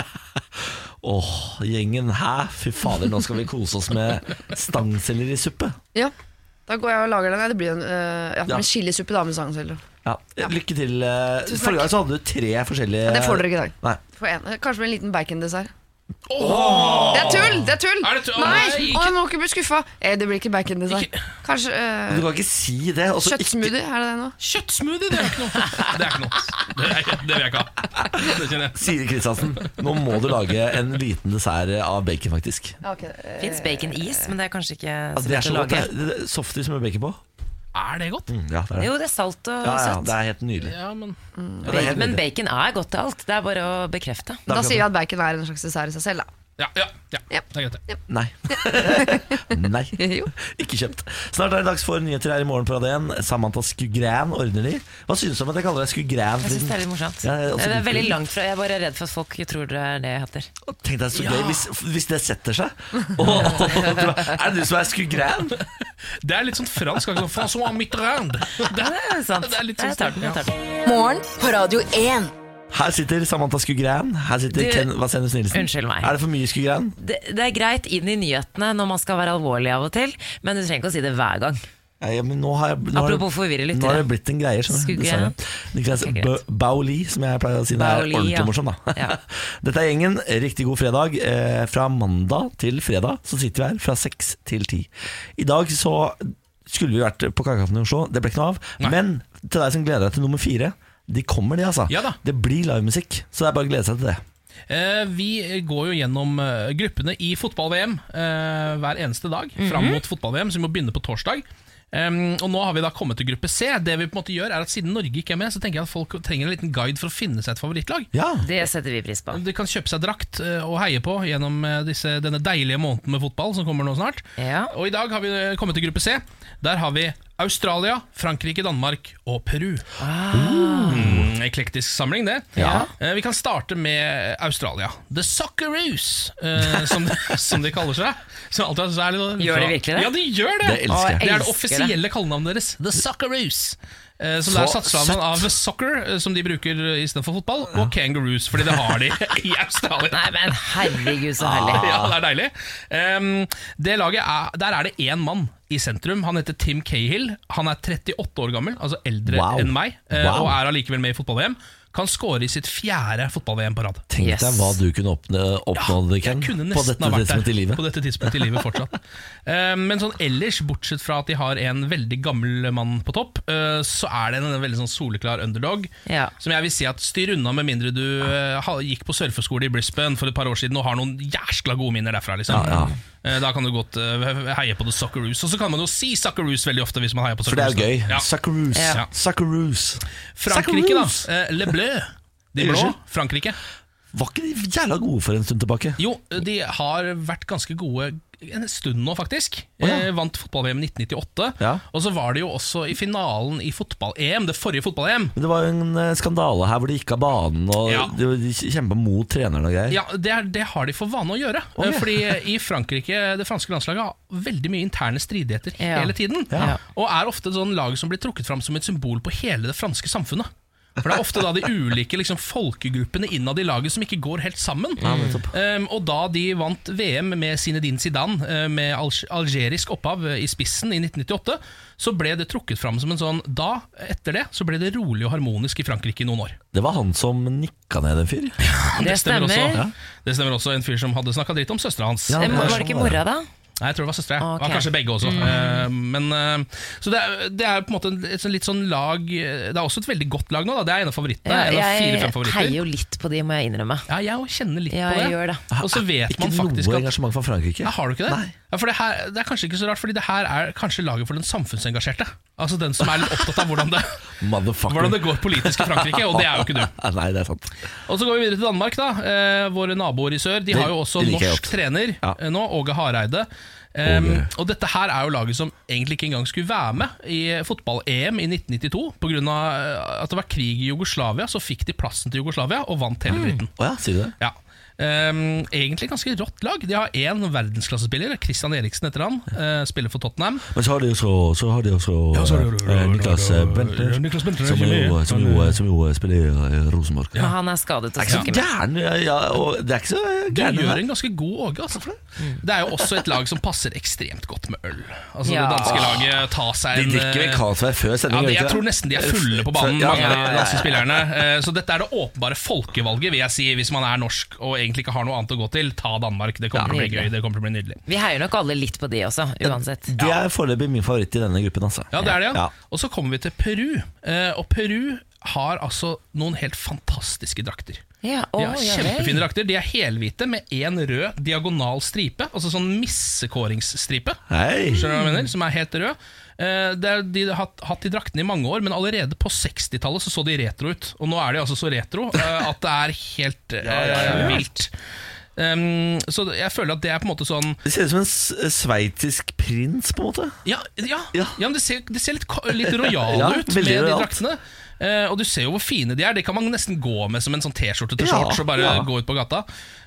Speaker 2: Åh, gjengen hæ? Fy fader, nå skal vi kose oss med stangsellerisuppe.
Speaker 5: Ja, da går jeg og lager den. Nei, Det blir en øh, ja,
Speaker 2: Ja.
Speaker 5: med chilisuppe da med stangselleri.
Speaker 2: Ja. Lykke til. eh,
Speaker 5: Tusen
Speaker 2: Forrige
Speaker 5: takk.
Speaker 2: gang så hadde du tre forskjellige
Speaker 5: Ja, det får dere ikke i dag.
Speaker 2: Eh, Nei.
Speaker 5: Får en- Kanskje med en liten bacondessert. Det er tull! det er tull
Speaker 3: Er det tull? Å,
Speaker 5: Nei,
Speaker 3: nei, ikke-
Speaker 5: Å, jeg må ikke bli skuffa. Eh, det blir ikke bacondessert. Kanskje
Speaker 2: Du
Speaker 5: øh,
Speaker 2: kan ikke si det. og så ikke-
Speaker 5: kjøttsmoothie? Er det det nå?
Speaker 3: Kjøttsmoothie, det er ikke noe. Det er ikke noe. Det, er, det vil jeg ikke ha. Det kjenner jeg.
Speaker 2: Siri Kristiansen, nå må du lage en liten dessert av bacon, faktisk.
Speaker 5: Ja, ok, øh,
Speaker 4: Fins baconis, men det er kanskje ikke
Speaker 2: Ja,
Speaker 4: så
Speaker 2: det er
Speaker 4: lett
Speaker 2: så
Speaker 4: å
Speaker 2: godt.
Speaker 4: lage.
Speaker 2: Det er- det er Softis med bacon på.
Speaker 3: Er det godt?
Speaker 2: Mm, Ja, det er det.
Speaker 4: Jo, det er salt og
Speaker 2: Ja, ja,
Speaker 4: søtt.
Speaker 2: det er helt nydelig.
Speaker 3: Ja, Mm. men
Speaker 2: Ja, det er helt
Speaker 4: Men
Speaker 2: nydelig.
Speaker 4: bacon er godt til alt. Det er bare å bekrefte.
Speaker 5: Da sier vi at bacon er en slags dessert i seg selv, da.
Speaker 3: Ja, ja, ja.
Speaker 5: Ja.
Speaker 3: Det er greit, det.
Speaker 2: Nei. Nei.
Speaker 5: Jo.
Speaker 2: Ikke kjøpt. Snart er det dags for nyheter her i morgen på Radio 1. Samantha Skugran ordner de. Hva synes du om at jeg kaller deg Skugran?
Speaker 4: Jeg syns det er litt morsomt.
Speaker 2: Ja, jeg er også
Speaker 4: det er
Speaker 2: litt
Speaker 4: veldig
Speaker 2: kul.
Speaker 4: langt fra Jeg er bare redd for at folk tror det er det jeg heter.
Speaker 2: Tenk deg så gøy hvis, hvis det setter seg. Og, og, og, er det du som er Skugran?
Speaker 3: Det er litt sånn fransk. Ikke sånn François Mitterrand. Det,
Speaker 4: Det er sant.
Speaker 3: Det er litt sånn
Speaker 4: jeg tar den. Jeg tar
Speaker 3: sterkt,
Speaker 4: den.
Speaker 1: Morgen på Radio 1.
Speaker 2: Her sitter Samantha Skugran. Her sitter
Speaker 4: Du-
Speaker 2: Ken Vasenus Nilsen.
Speaker 4: Unnskyld meg.
Speaker 2: Er det for mye Skugran?
Speaker 4: Det, det er greit inn i nyhetene når man skal være alvorlig av og til, men du trenger ikke å si det hver gang.
Speaker 2: Ja, ja, men nå har jeg, nå har det-
Speaker 4: Apropos forvirre
Speaker 2: Nå har det
Speaker 4: lyttere.
Speaker 2: blitt en greie. skjønner du,
Speaker 4: Skugge.
Speaker 2: dessverre. Niklas
Speaker 4: Ok, greit.
Speaker 2: Bø- Bauli, som jeg pleier å si når jeg
Speaker 4: Bauli,
Speaker 2: er ordentlig
Speaker 4: ja.
Speaker 2: morsom. da
Speaker 4: Ja.
Speaker 2: Dette er gjengen. Riktig god fredag. Eh, fra mandag til fredag så sitter vi her fra seks til ti. I dag så skulle vi vært på Kakaften i Oslo, det ble ikke noe av. Men til deg som gleder deg til nummer fire, de kommer, de, altså.
Speaker 3: Ja da.
Speaker 2: Det blir livemusikk, så det er bare å glede seg til det.
Speaker 3: Eh, vi går jo gjennom eh, gruppene i fotball-VM eh, hver eneste dag fram mot fotball-VM, så vi må begynne på torsdag. Em, og Nå har vi da kommet til gruppe C. Det vi på en måte gjør er at Siden Norge ikke er med, Så tenker jeg at folk trenger en liten guide for å finne seg et favorittlag.
Speaker 2: Ja,
Speaker 4: Det setter vi pris på.
Speaker 3: De kan kjøpe seg drakt eh, og heie på gjennom eh, disse, denne deilige måneden med fotball som kommer nå snart.
Speaker 4: Ja.
Speaker 3: Og I dag har vi eh, kommet til gruppe C. Der har vi Australia, Frankrike, Danmark og Peru. Mm, eklektisk samling, det.
Speaker 4: Ah. Ja.
Speaker 3: Eh, vi kan starte med Australia. The Socceroos, eh, som, som de kaller seg. Som alltid, er- så er det noe-
Speaker 4: Gjør de virkelig det?
Speaker 3: Ja, de gjør det!
Speaker 2: Det elsker jeg.
Speaker 3: Det er det
Speaker 4: Elsker
Speaker 3: offisielle kallenavnet deres. The Socceroos. Eh, som
Speaker 2: Så
Speaker 3: det er satt sammen
Speaker 2: søtt.
Speaker 3: av soccer, eh, som de bruker istedenfor fotball, og kangaroos, fordi det har de i Australia.
Speaker 4: Nei, men herregud, så herlig.
Speaker 3: Ah,
Speaker 2: Ah.
Speaker 3: Ja, det er deilig. Ehm, det laget er, der er det én mann i sentrum. Han heter Tim Cahill. Han er 38 år gammel, altså eldre
Speaker 2: Wow.
Speaker 3: enn meg, eh,
Speaker 2: Wow.
Speaker 3: og er allikevel med i fotball-VM. Kan skåre i sitt fjerde fotball-VM på rad.
Speaker 2: Tenk
Speaker 4: Yes.
Speaker 2: deg hva du kunne oppnå, oppnådd, Ken,
Speaker 3: Kunne
Speaker 2: på
Speaker 3: nesten
Speaker 2: dette
Speaker 3: ha vært
Speaker 2: tidspunktet i
Speaker 3: der
Speaker 2: livet.
Speaker 3: på dette tidspunktet i livet fortsatt. Ehm, men sånn ellers, bortsett fra at de har en veldig gammel mann på topp, eh, så er det en, en veldig sånn soleklar underdog.
Speaker 4: Ja.
Speaker 3: Som jeg vil si at styr unna med mindre du eh, ha- gikk på surfeskole i Brisbane for et par år siden og har noen jæskla gode minner derfra. liksom
Speaker 2: Ja, ja.
Speaker 3: Eh, Da kan du godt eh, heie på The Socceroos. Og så kan man jo si Socceroos veldig ofte. hvis man heier på
Speaker 2: For det er jo
Speaker 3: Socceroos.
Speaker 2: gøy.
Speaker 3: Ja.
Speaker 2: Socceroos.
Speaker 3: Ja.
Speaker 2: Socceroos.
Speaker 3: Frankrike, da.
Speaker 2: Socceroos.
Speaker 3: Eh, Le Bleu. De blå.
Speaker 2: Unnskyld?
Speaker 3: Frankrike.
Speaker 2: Var ikke de jævla gode for en stund tilbake?
Speaker 3: Jo, de har vært ganske gode en stund nå, faktisk.
Speaker 2: Å, ja.
Speaker 3: eh, vant fotball-VM 1998.
Speaker 2: Ja.
Speaker 3: Og så var de jo også i finalen i fotball-EM, det forrige fotball-EM.
Speaker 2: Men det var jo en eh, skandale her hvor de gikk av banen og
Speaker 3: Ja.
Speaker 2: de, de kjempa mot treneren og greier.
Speaker 3: Ja, det, er, det har de for vane å gjøre.
Speaker 2: Å, ja.
Speaker 3: Eh, Fordi i Frankrike, det franske landslaget har veldig mye interne stridigheter
Speaker 4: Ja.
Speaker 3: hele tiden.
Speaker 2: Ja.
Speaker 3: Og er ofte et sånn lag som blir trukket fram som et symbol på hele det franske samfunnet. For det er ofte da de ulike liksom, folkegruppene innad i laget som ikke går helt sammen.
Speaker 2: nettopp.
Speaker 3: Um, og da de vant VM med Zinedine Zidane eh, med alg- algerisk opphav eh, i spissen i 1998, så ble det trukket fram som en sånn Da, etter det, så ble det rolig og harmonisk i Frankrike i noen år.
Speaker 2: Det var han som nikka ned en fyr.
Speaker 4: Det stemmer.
Speaker 3: også. Det stemmer også en fyr som hadde snakka dritt om søstera hans.
Speaker 2: Ja.
Speaker 4: Eh, men Var det ikke mora, da?
Speaker 3: Nei, jeg tror det var søstera.
Speaker 4: Ok. Mm.
Speaker 3: Okay. Kanskje begge også. Eh, men, eh, så det er, det er på en måte et sånn- litt sånn lag eh, Det er også et veldig godt lag nå, da. Det er en av favorittene.
Speaker 4: Ja,
Speaker 3: en av
Speaker 4: jeg
Speaker 3: fire-fem favoritter.
Speaker 4: heier jo litt på de, må jeg innrømme.
Speaker 3: Ja, jeg også kjenner litt
Speaker 4: Ja,
Speaker 3: på det.
Speaker 4: jeg gjør det. Ah,
Speaker 3: Og så vet
Speaker 2: Ikke
Speaker 3: man faktisk
Speaker 2: noe
Speaker 3: at
Speaker 2: engasjement for Frankrike.
Speaker 3: ja, Har du ikke det?
Speaker 2: Nei.
Speaker 3: Ja, for det, her, det er kanskje ikke så rart, fordi det her er kanskje laget for den samfunnsengasjerte. Altså den som er litt opptatt av hvordan det,
Speaker 2: Motherfucker.
Speaker 3: hvordan det går politisk i Frankrike, og det er jo ikke du.
Speaker 2: Nei, det er sant.
Speaker 3: Og så går vi videre til Danmark, da. Eh, våre naboer i sør. De
Speaker 2: Det-
Speaker 3: har jo også
Speaker 2: det liker jeg
Speaker 3: norsk
Speaker 2: godt.
Speaker 3: trener
Speaker 2: Ja.
Speaker 3: eh, nå, Åge Hareide. Em,
Speaker 2: Åge.
Speaker 3: og dette her er jo laget som egentlig ikke engang skulle være med i fotball-EM i 1992. Pga. eh, at det var krig i Jugoslavia, så fikk de plassen til Jugoslavia og vant hele dritten.
Speaker 2: Å ja, sier du det?
Speaker 3: Ja. Em, egentlig ganske rått lag. De har én verdensklassespiller, Christian Eriksen heter han. eh, spiller for Tottenham.
Speaker 2: Men så har de jo så, så, har de jo så,
Speaker 3: så har de jo-
Speaker 2: eh, Niklas eh, Bentner,
Speaker 3: Ja, Niklas Bentner er
Speaker 2: som,
Speaker 3: ikke
Speaker 2: jo,
Speaker 3: med.
Speaker 2: som, jo, som jo spiller i eh, Rosenborg.
Speaker 4: Men han er skadet og
Speaker 2: Det er
Speaker 4: skal
Speaker 2: ikke så
Speaker 4: ikke med.
Speaker 2: gæren, ja, ja, og det er ikke så
Speaker 3: De
Speaker 2: gæren.
Speaker 3: gjør en ganske god Åge. Altså, for det. det er jo også et lag som passer ekstremt godt med øl. Altså
Speaker 4: Ja.
Speaker 3: Det danske laget tar seg
Speaker 2: De
Speaker 3: en
Speaker 2: drikker vel
Speaker 3: eh,
Speaker 2: Carlsberg før
Speaker 3: ja,
Speaker 2: sending?
Speaker 3: det,
Speaker 2: gjør de
Speaker 3: Jeg
Speaker 2: ikke
Speaker 3: tror
Speaker 2: det?
Speaker 3: nesten de er fulle på banen,
Speaker 2: Ja,
Speaker 3: mange av
Speaker 2: ja,
Speaker 3: de
Speaker 2: ja,
Speaker 3: danske spillerne. Eh, Så dette er det åpenbare folkevalget, vil jeg si, hvis man er norsk og egentlig ikke har noe annet å gå til. Ta Danmark, det kommer til å bli
Speaker 4: nydelig.
Speaker 3: gøy. Det kommer til å bli nydelig.
Speaker 4: Vi heier nok alle litt på de også, uansett.
Speaker 2: Det er foreløpig min favoritt i denne gruppen. Altså.
Speaker 3: Ja, det er det, ja.
Speaker 2: Ja.
Speaker 3: Og så kommer vi til Peru. Eh, Og Peru har altså noen helt fantastiske drakter.
Speaker 4: Ja, å,
Speaker 3: De har
Speaker 4: ja vel.
Speaker 3: kjempefine drakter. De er helhvite med én rød diagonal stripe, altså sånn missekåringsstripe.
Speaker 2: Hei!
Speaker 3: Skjønner du hva jeg mener? Som er helt rød. Eh, det er, de har hatt, hatt de draktene i mange år, men allerede på 60-tallet så, så de retro ut. Og nå er de altså så retro eh, at det er helt eh, vilt. Um, så jeg føler at det er på en måte sånn
Speaker 2: Det ser ut som en s- sveitsisk prins, på en måte.
Speaker 3: Ja, ja, ja.
Speaker 2: Ja.
Speaker 3: men det ser, det ser litt, ka- litt rojale
Speaker 2: Ja,
Speaker 3: ut med
Speaker 2: veldig
Speaker 3: de
Speaker 2: rojalt.
Speaker 3: draktene. Eh, og du ser jo hvor fine de er. Det kan man nesten gå med som en sånn T-skjorte til
Speaker 2: Ja,
Speaker 3: shorts og bare
Speaker 2: ja.
Speaker 3: gå ut på gata.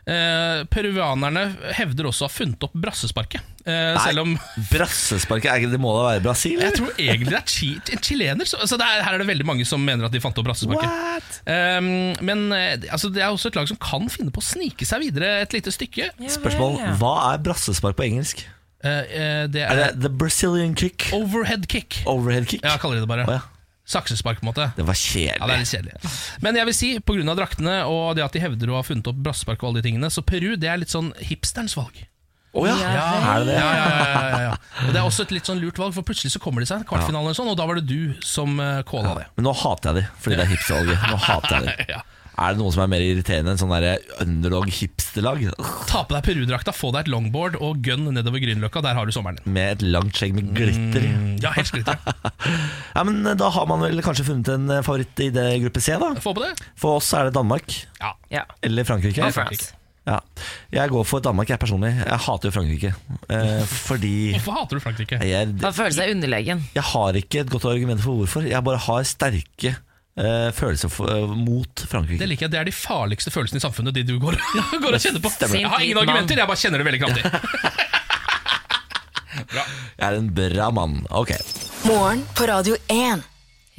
Speaker 3: Eh, peruanerne hevder også å ha funnet opp brassesparket. Eh, selv om
Speaker 2: Brassesparket, er ikke det må da være Brasil?
Speaker 3: Jeg tror egentlig det er chi en chilener. Så, så det er, her er det veldig mange som mener at de fant opp brassesparket.
Speaker 2: What?
Speaker 3: Ehm, men eh, altså, det er også et lag som kan finne på å snike seg videre et lite stykke.
Speaker 4: Ja vel,
Speaker 2: Spørsmål
Speaker 4: ja.
Speaker 2: Hva er brassespark på engelsk?
Speaker 3: Eh, eh, det
Speaker 2: Er
Speaker 3: er,
Speaker 2: det the Brazilian kick?
Speaker 3: overhead kick.
Speaker 2: Overhead kick?
Speaker 3: Oh. Ja, jeg kaller de det bare.
Speaker 2: Å, ja.
Speaker 3: Saksespark, på en måte.
Speaker 2: Det var
Speaker 3: Ja, det
Speaker 2: kjedelig.
Speaker 3: er litt kjedelig. Men jeg vil si, pga. draktene og det at de hevder å ha funnet opp brassespark og alle de tingene, så Peru det er litt sånn hipsterens valg.
Speaker 2: Å ja.
Speaker 3: Ja.
Speaker 2: Er det det?
Speaker 3: Ja, ja, ja, ja, ja. Og det er også et litt sånn lurt valg, for plutselig så kommer de seg kvartfinalen og sånn, og da var det du som eh, calla det.
Speaker 2: Men nå hater jeg de, fordi det er hipstervalget. Nå hater jeg de.
Speaker 3: Ja.
Speaker 2: Er det noe som er mer irriterende enn sånn der underdog-hipsterlag? Ugh,
Speaker 3: Ta på deg Peru-drakta, få deg et longboard og gun nedover Grünerløkka. Der har du sommeren din.
Speaker 2: Med et langt skjegg med glitter.
Speaker 3: Mm, Ja, helt skrittere.
Speaker 2: Ja, men eh, Da har man vel kanskje funnet en eh, favoritt i det gruppe C, da.
Speaker 3: Få på det.
Speaker 2: For oss er det Danmark
Speaker 3: Ja.
Speaker 4: Ja.
Speaker 2: eller Frankrike.
Speaker 4: Og France.
Speaker 2: Ja. Jeg går for Danmark, jeg personlig. Jeg hater jo Frankrike. Eh, fordi
Speaker 3: Hvorfor hater du Frankrike?
Speaker 2: jeg,
Speaker 4: Han føler seg underlegen.
Speaker 2: jeg har ikke et godt argument for hvorfor. Jeg bare har sterke eh, følelser for, eh, mot
Speaker 3: Det
Speaker 2: Frankrike.
Speaker 3: liker jeg, det er de farligste følelsene i samfunnet, de du går, går og kjenner på.
Speaker 4: Stemmer.
Speaker 3: Jeg har ingen argumenter, jeg bare kjenner det veldig kraftig.
Speaker 2: Jeg er en bra mann. Ok.
Speaker 1: Morgen på Radio 1.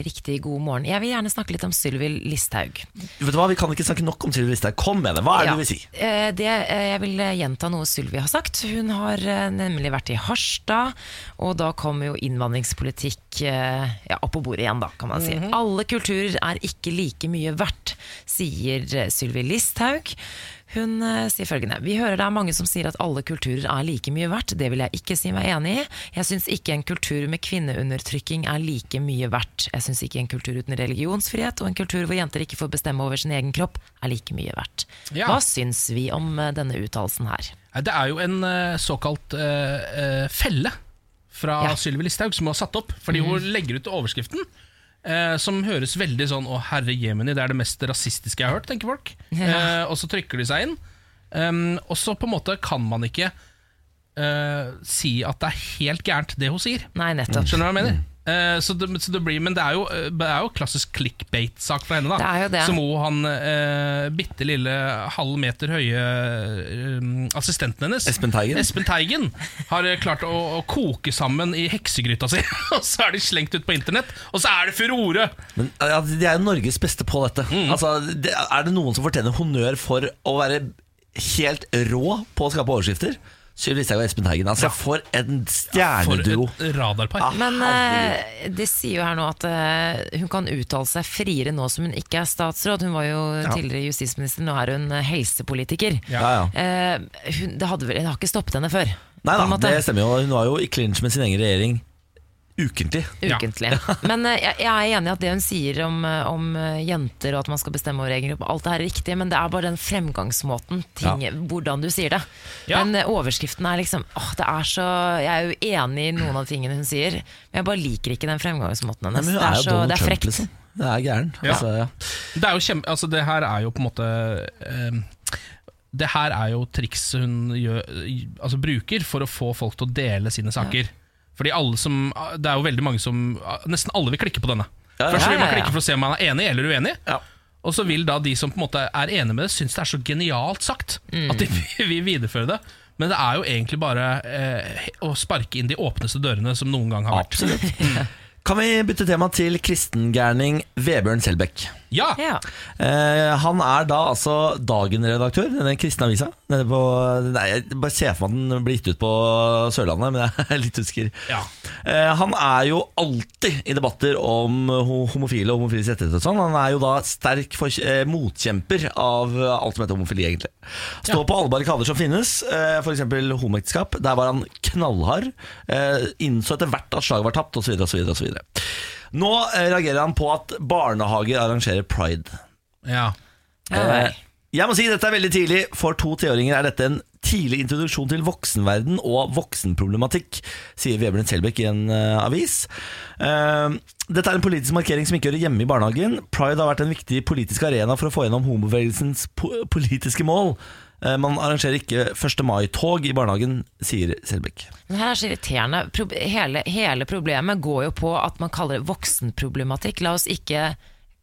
Speaker 4: Riktig god morgen. Jeg vil gjerne snakke litt om Sylvi Listhaug.
Speaker 2: Vet du hva, Vi kan ikke snakke nok om Sylvi Listhaug. Kom med det. Hva er det
Speaker 4: Ja.
Speaker 2: du vil si?
Speaker 4: Eh, Det, eh, jeg vil eh, gjenta noe Sylvi har sagt. Hun har eh, nemlig vært i Harstad, og da kom jo innvandringspolitikk eh, ja, opp på bordet igjen, da, kan man si. Alle kulturer er ikke like mye verdt, sier eh, Sylvi Listhaug. Hun eh, sier følgende Vi hører det er mange som sier at alle kulturer er like mye verdt. Det vil jeg ikke si meg enig i. Jeg syns ikke en kultur med kvinneundertrykking er like mye verdt. Jeg syns ikke en kultur uten religionsfrihet og en kultur hvor jenter ikke får bestemme over sin egen kropp, er like mye verdt.
Speaker 3: Ja.
Speaker 4: Hva syns vi om eh, denne uttalelsen her?
Speaker 3: Nei, Det er jo en eh, såkalt eh, eh, felle fra
Speaker 4: Ja. Mm.
Speaker 3: Sylvi Listhaug som hun har satt opp. Fordi hun legger ut overskriften, eh, som høres veldig sånn 'Å, herre jemini, det er det mest rasistiske jeg har hørt', tenker folk.
Speaker 4: Ja.
Speaker 3: Eh, og så trykker de seg inn. Um, og så på en måte kan man ikke eh, si at det er helt gærent, det hun sier.
Speaker 4: Nei, nettopp.
Speaker 2: Mm.
Speaker 3: Skjønner du hva jeg mener? Eh, så det, så det blir, men det er jo, eh, det er jo klassisk clickbait-sak fra henne. da
Speaker 4: Det er jo det.
Speaker 3: Som hun, han eh, bitte lille halv meter høye eh, assistenten hennes
Speaker 2: Espen Teigen?
Speaker 3: Espen Teigen har eh, klart å, å koke sammen i heksegryta si. og så er de slengt ut på internett, og så er det furore!
Speaker 2: Men ja, De er jo Norges beste på dette.
Speaker 3: Mhm.
Speaker 2: Altså, det, er det noen som fortjener honnør for å være helt rå på å skape overskrifter? Sylvi Listhaug og Espen Teigen. Altså, For en
Speaker 3: For et
Speaker 2: stjerneduo!
Speaker 3: radarpar.
Speaker 2: Ah,
Speaker 4: Men
Speaker 2: herregud.
Speaker 4: eh, det sier jo her nå at eh, hun kan uttale seg friere nå som hun ikke er statsråd. Hun var jo tidligere justisminister, nå er hun eh, helsepolitiker.
Speaker 2: ja, ja.
Speaker 4: Eh, hun, det, hadde vel, det har ikke stoppet henne før.
Speaker 2: Nei
Speaker 4: på en
Speaker 2: da,
Speaker 4: måte.
Speaker 2: det stemmer jo. Hun var jo i clinch med sin egen regjering ukentlig.
Speaker 3: Ja.
Speaker 4: ukentlig. Men eh, jeg, jeg er enig i at det hun sier om, eh, om eh, jenter og at man skal bestemme over egen gruppe, alt det her er riktig, men det er bare den fremgangsmåten, ting, hvordan du sier det.
Speaker 3: Ja.
Speaker 4: Men eh, overskriften er liksom åh, det er så, Jeg er jo enig i noen av tingene hun sier, men jeg bare liker ikke den fremgangsmåten
Speaker 2: Nei,
Speaker 4: hennes.
Speaker 2: men hun
Speaker 4: det,
Speaker 2: er
Speaker 4: er
Speaker 2: jo
Speaker 4: så,
Speaker 2: Donald
Speaker 4: det er
Speaker 2: Trump,
Speaker 4: frekt.
Speaker 2: liksom. Det er gæren.
Speaker 3: Ja.
Speaker 2: Altså, ja.
Speaker 3: Det, er jo kjempe, altså det her er jo på en måte ehm, Det her er jo triks hun gjør, altså bruker for å få folk til å dele sine saker. Fordi alle som, Det er jo veldig mange som Nesten alle vil klikke på denne.
Speaker 2: Ja, ja.
Speaker 3: Først vil
Speaker 4: Ja,
Speaker 3: man
Speaker 4: ja, ja.
Speaker 3: klikke for å se om man er enig eller uenig.
Speaker 2: Ja.
Speaker 3: Og så vil da de som på en måte er enig med det, synes det er så genialt sagt
Speaker 2: Mm.
Speaker 3: at de vil videreføre det. Men det er jo egentlig bare eh, å sparke inn de åpneste dørene som noen gang har vært.
Speaker 2: Absolutt. Kan vi bytte tema til kristengærning Vebjørn Selbekk?
Speaker 3: Ja!
Speaker 4: Ja.
Speaker 2: Eh, han er da altså Dagen-redaktør, denne kristne avisa. Nede på, nei, jeg bare ser for meg at den blir gitt ut på Sørlandet, men jeg er litt usikker.
Speaker 3: Ja.
Speaker 2: Eh, han er jo alltid i debatter om eh, ho- homofile og homofiles rettigheter og sånn. Han er jo da sterk for, eh, motkjemper av eh, alt som heter homofili, egentlig. Står på alle barrikader som finnes, eh, f.eks. homoekteskap. Der var han knallhard. Eh, innså etter hvert at slaget var tapt, osv., osv., osv. Nå eh, reagerer han på at barnehager arrangerer pride.
Speaker 3: ja.
Speaker 4: Ja,
Speaker 2: Eh, Jeg må si dette er veldig tidlig. For to tiåringer er dette en tidlig introduksjon til voksenverden og voksenproblematikk, sier Vebjørn Selbekk i en eh, avis. Eh, dette er en politisk markering som ikke hører hjemme i barnehagen. Pride har vært en viktig politisk arena for å få gjennom homobevegelsens po politiske mål. Eh, man arrangerer ikke 1. mai-tog i barnehagen, sier Selbekk.
Speaker 4: Det her er så irriterende. Prob- Hele, hele problemet går jo på at man kaller det voksenproblematikk. La oss ikke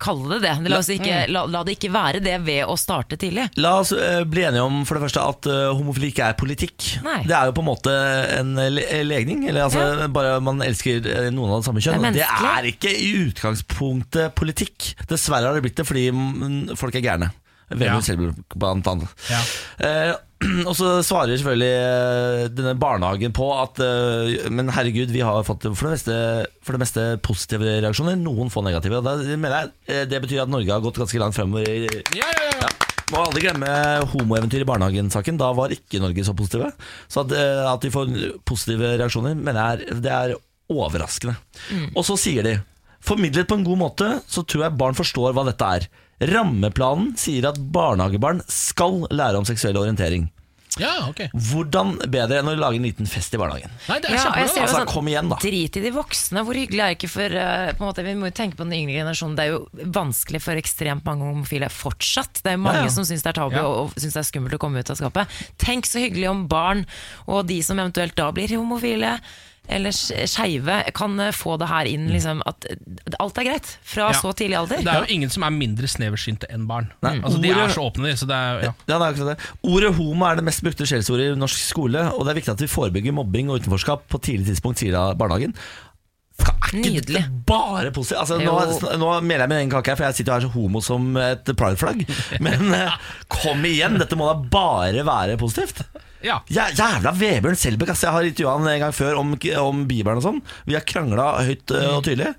Speaker 4: kalle det det. La, oss ikke, la, la det ikke være det ved å starte tidlig.
Speaker 2: La oss eh, bli enige om for det første at eh, homofili ikke er politikk.
Speaker 4: Nei.
Speaker 2: Det er jo på en måte en le legning. Eller altså, bare man elsker eh, noen av det samme kjønn.
Speaker 4: Det er
Speaker 2: Det
Speaker 4: menneskelig.
Speaker 2: er ikke i utgangspunktet politikk. Dessverre har det blitt det fordi mm, folk er gærne.
Speaker 3: Ja.
Speaker 2: Vemund Selbukk, blant annet.
Speaker 3: Ja.
Speaker 2: Eh, og så svarer selvfølgelig eh, denne barnehagen på at eh, Men herregud, vi har fått for det, meste, for det meste positive reaksjoner, noen få negative. Og da mener jeg, eh, Det betyr at Norge har gått ganske langt fremover i
Speaker 3: Ja, ja, ja.
Speaker 2: må aldri glemme homoeventyr i barnehagen-saken. Da var ikke Norge så positive. Så at, eh, at de får positive reaksjoner, mener jeg er- det er overraskende. Og så sier de Formidlet på en god måte, så tror jeg barn forstår hva dette er. Rammeplanen sier at barnehagebarn skal lære om seksuell orientering.
Speaker 3: ja ok.
Speaker 2: Hvordan bedre enn å lage en liten fest i barnehagen?
Speaker 3: Nei, det er
Speaker 4: Ja, og jeg
Speaker 3: kjempebra.
Speaker 4: ser jo
Speaker 2: Altså,
Speaker 4: sånn,
Speaker 2: kom igjen, da.
Speaker 4: Drit i de voksne. Hvor hyggelig er det ikke for eh, på en måte, Vi må jo tenke på den yngre generasjonen. Det er jo vanskelig for ekstremt mange homofile fortsatt. Det er jo mange
Speaker 2: Ja, ja.
Speaker 4: som syns det er tabu
Speaker 3: Ja.
Speaker 4: og, og syns det er skummelt å komme ut av skapet. Tenk så hyggelig om barn og de som eventuelt da blir homofile eller sk- skeive, kan eh, få det her inn. Liksom, at eh, alt er greit fra
Speaker 3: Ja.
Speaker 4: så tidlig alder.
Speaker 3: Det er jo ingen som er mindre sneversynte enn barn.
Speaker 2: Nei,
Speaker 3: altså, de
Speaker 2: ordet-
Speaker 3: er så åpne, de. Så det er, ja.
Speaker 2: Ja, det er akkurat det. Ordet homo er det mest brukte skjellsordet i norsk skole, og det er viktig at vi forebygger mobbing og utenforskap på tidlig tidspunkt, sier da barnehagen. Skal- er ikke
Speaker 4: Nydelig.
Speaker 2: det Bare positivt. Altså, nå,
Speaker 4: Jo.
Speaker 2: nå meler jeg min egen kake her, for jeg sitter jo her så homo som et prideflagg. Men eh, kom igjen, dette må da bare være positivt.
Speaker 3: Ja.
Speaker 2: Ja, jævla Vebjørn Selbekk. ass. Jeg har intervjua han en gang før om, om Bibelen og sånn. Vi har krangla høyt eh, og tydelig.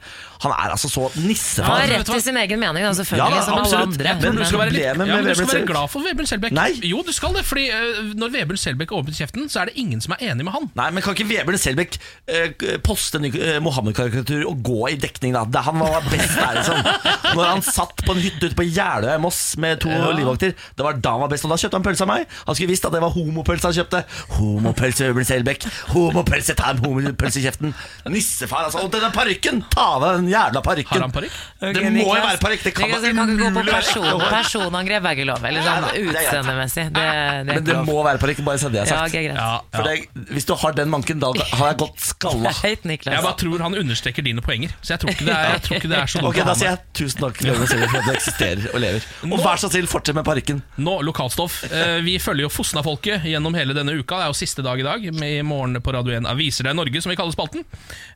Speaker 2: Han er altså så
Speaker 4: Han har
Speaker 2: nissefan.
Speaker 3: Ja,
Speaker 4: rett
Speaker 3: vet du
Speaker 4: til sin egen mening, da,
Speaker 2: Ja,
Speaker 4: selvfølgelig, som alle
Speaker 2: absolutt.
Speaker 4: andre.
Speaker 2: Jeg tror
Speaker 3: Men du skal være, litt, ja,
Speaker 2: Problemet med
Speaker 3: men du skal
Speaker 2: Vebjørn
Speaker 3: være
Speaker 2: Selbekk-
Speaker 3: glad for Vebjørn Selbekk.
Speaker 2: Nei.
Speaker 3: Jo, du skal det. Fordi øh, når Vebjørn Selbekk åpner kjeften, så er det ingen som er enig med han.
Speaker 2: Nei, men Kan ikke Vebjørn Selbekk eh, poste en ny eh, Mohammed-karikatur og gå i dekning, da? Det, han var best der, liksom. Når han satt på en hytte ute på Jeløya i Moss med to livvakter. Det var da han var best, og da kjøpte han pølse av meg. Han skulle visst at det var homopølse han kjøpte. Homopølse, Vebjørn Selbekk. Homopølse, ta en homopølse i kjeften. Nissefar, altså. Og denne parykken! Ta av deg den jævla parykken.
Speaker 3: Har han parykk?
Speaker 2: Det må jo være parykk. Det kan
Speaker 4: Niklas,
Speaker 2: da
Speaker 4: vi kan ikke gå på
Speaker 2: umulig være ekte
Speaker 4: person,
Speaker 2: hår.
Speaker 4: personangrep, er ikke lov. Eller sånn
Speaker 2: Nei, nei, det er greit.
Speaker 4: utseendemessig. Det, det er
Speaker 2: Men det
Speaker 4: ikke lov.
Speaker 2: må være parykk, bare så det er
Speaker 4: Ja,
Speaker 2: sagt.
Speaker 4: ok, greit.
Speaker 3: Ja,
Speaker 2: For
Speaker 3: ja.
Speaker 2: det, hvis du har den manken, da har jeg gått skalla.
Speaker 4: Høyt, Niklas.
Speaker 3: Jeg bare tror han understreker dine poenger. Så jeg tror ikke det er, jeg tror ikke det er så dumt
Speaker 2: Ok,
Speaker 3: å ha
Speaker 2: Da sier
Speaker 3: med.
Speaker 2: jeg tusen takk til Jørgen Silje for at du eksisterer og lever.
Speaker 3: Nå-
Speaker 2: Og vær så snill, fortsett med parykken.
Speaker 3: Nå, lokalstoff. Eh, Vi følger jo Fosna-folket gjennom hele denne uka. Det er jo siste dag i dag. Med I morgen på Radio 1 Aviser deg Norge, som vi kaller spalten.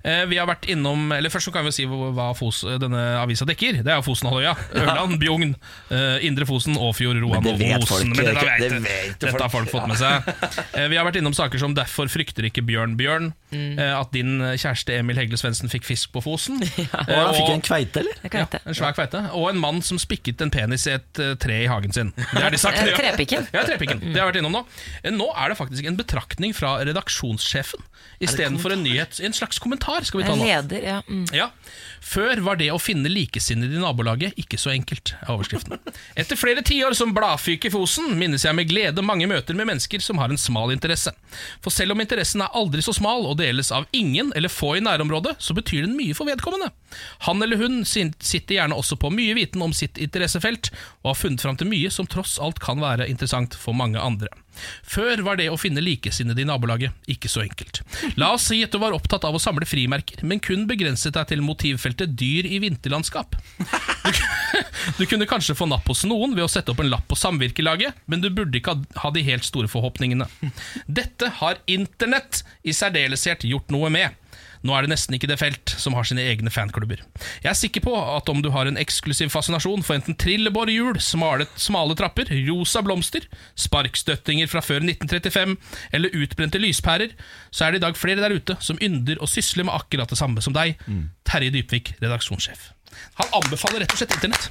Speaker 3: Eh, Vi har vært innom Eller først så kan vi si hvor- hva Fos, denne avisa dekker. Det er jo Fosenhalvøya. Ørland, Bjugn, eh, Indre Fosen, Åfjord, Roan
Speaker 2: Men
Speaker 3: og
Speaker 2: det vet folk
Speaker 3: Osen. Men dette
Speaker 2: ikke.
Speaker 3: vet,
Speaker 2: Det vet jo
Speaker 3: dette har folk
Speaker 2: folk.
Speaker 3: fått med seg. Eh, Vi har vært innom saker som 'Derfor frykter ikke Bjørn Bjørn'.
Speaker 2: Mm.
Speaker 3: eh, At din kjæreste Emil Hegle Svendsen fikk fisk på Fosen.
Speaker 2: Og
Speaker 3: eh,
Speaker 2: han fikk
Speaker 3: og-
Speaker 2: en kveite, eller?
Speaker 4: Jeg kan
Speaker 3: ja,
Speaker 4: ikke.
Speaker 3: en svær kveite. Og en mann som spikket en penis i et eh, tre i hagen sin. Det er de sakene.
Speaker 4: Eh, trepikken.
Speaker 3: Ja, trepikken. Det har jeg vært innom nå. Eh, Nå er det faktisk en betraktning fra redaksjonssjefen istedenfor en nyhet. En slags kommentar skal vi ta
Speaker 4: En
Speaker 3: nå.
Speaker 4: leder, ja. Mm.
Speaker 3: Ja. Før var det å finne likesinnede i nabolaget ikke så enkelt, er overskriften. Etter flere tiår som bladfyke i Fosen, minnes jeg med glede mange møter med mennesker som har en smal interesse. For selv om interessen er aldri så smal og deles av ingen eller få i nærområdet, så betyr den mye for vedkommende. Han eller hun sin- sitter gjerne også på mye viten om sitt interessefelt, og har funnet fram til mye som tross alt kan være interessant for mange andre. Før var det å finne likesinnede i nabolaget ikke så enkelt. La oss si at du var opptatt av å samle frimerker, men kun begrenset deg til motivfeltet dyr i vinterlandskap. Du, k- du kunne kanskje få napp hos noen ved å sette opp en lapp på samvirkelaget, men du burde ikke ha- ha de helt store forhåpningene. Dette har internett i særdeleshet gjort noe med. Nå er det nesten ikke det felt som har sine egne fanklubber. Jeg er sikker på at om du har en eksklusiv fascinasjon for enten trillebårhjul, smale, smale trapper, rosa blomster, sparkstøttinger fra før 1935 eller utbrente lyspærer, så er det i dag flere der ute som ynder og sysler med akkurat det samme som deg. Terje Dybvik, redaksjonssjef. Han anbefaler rett og slett internett.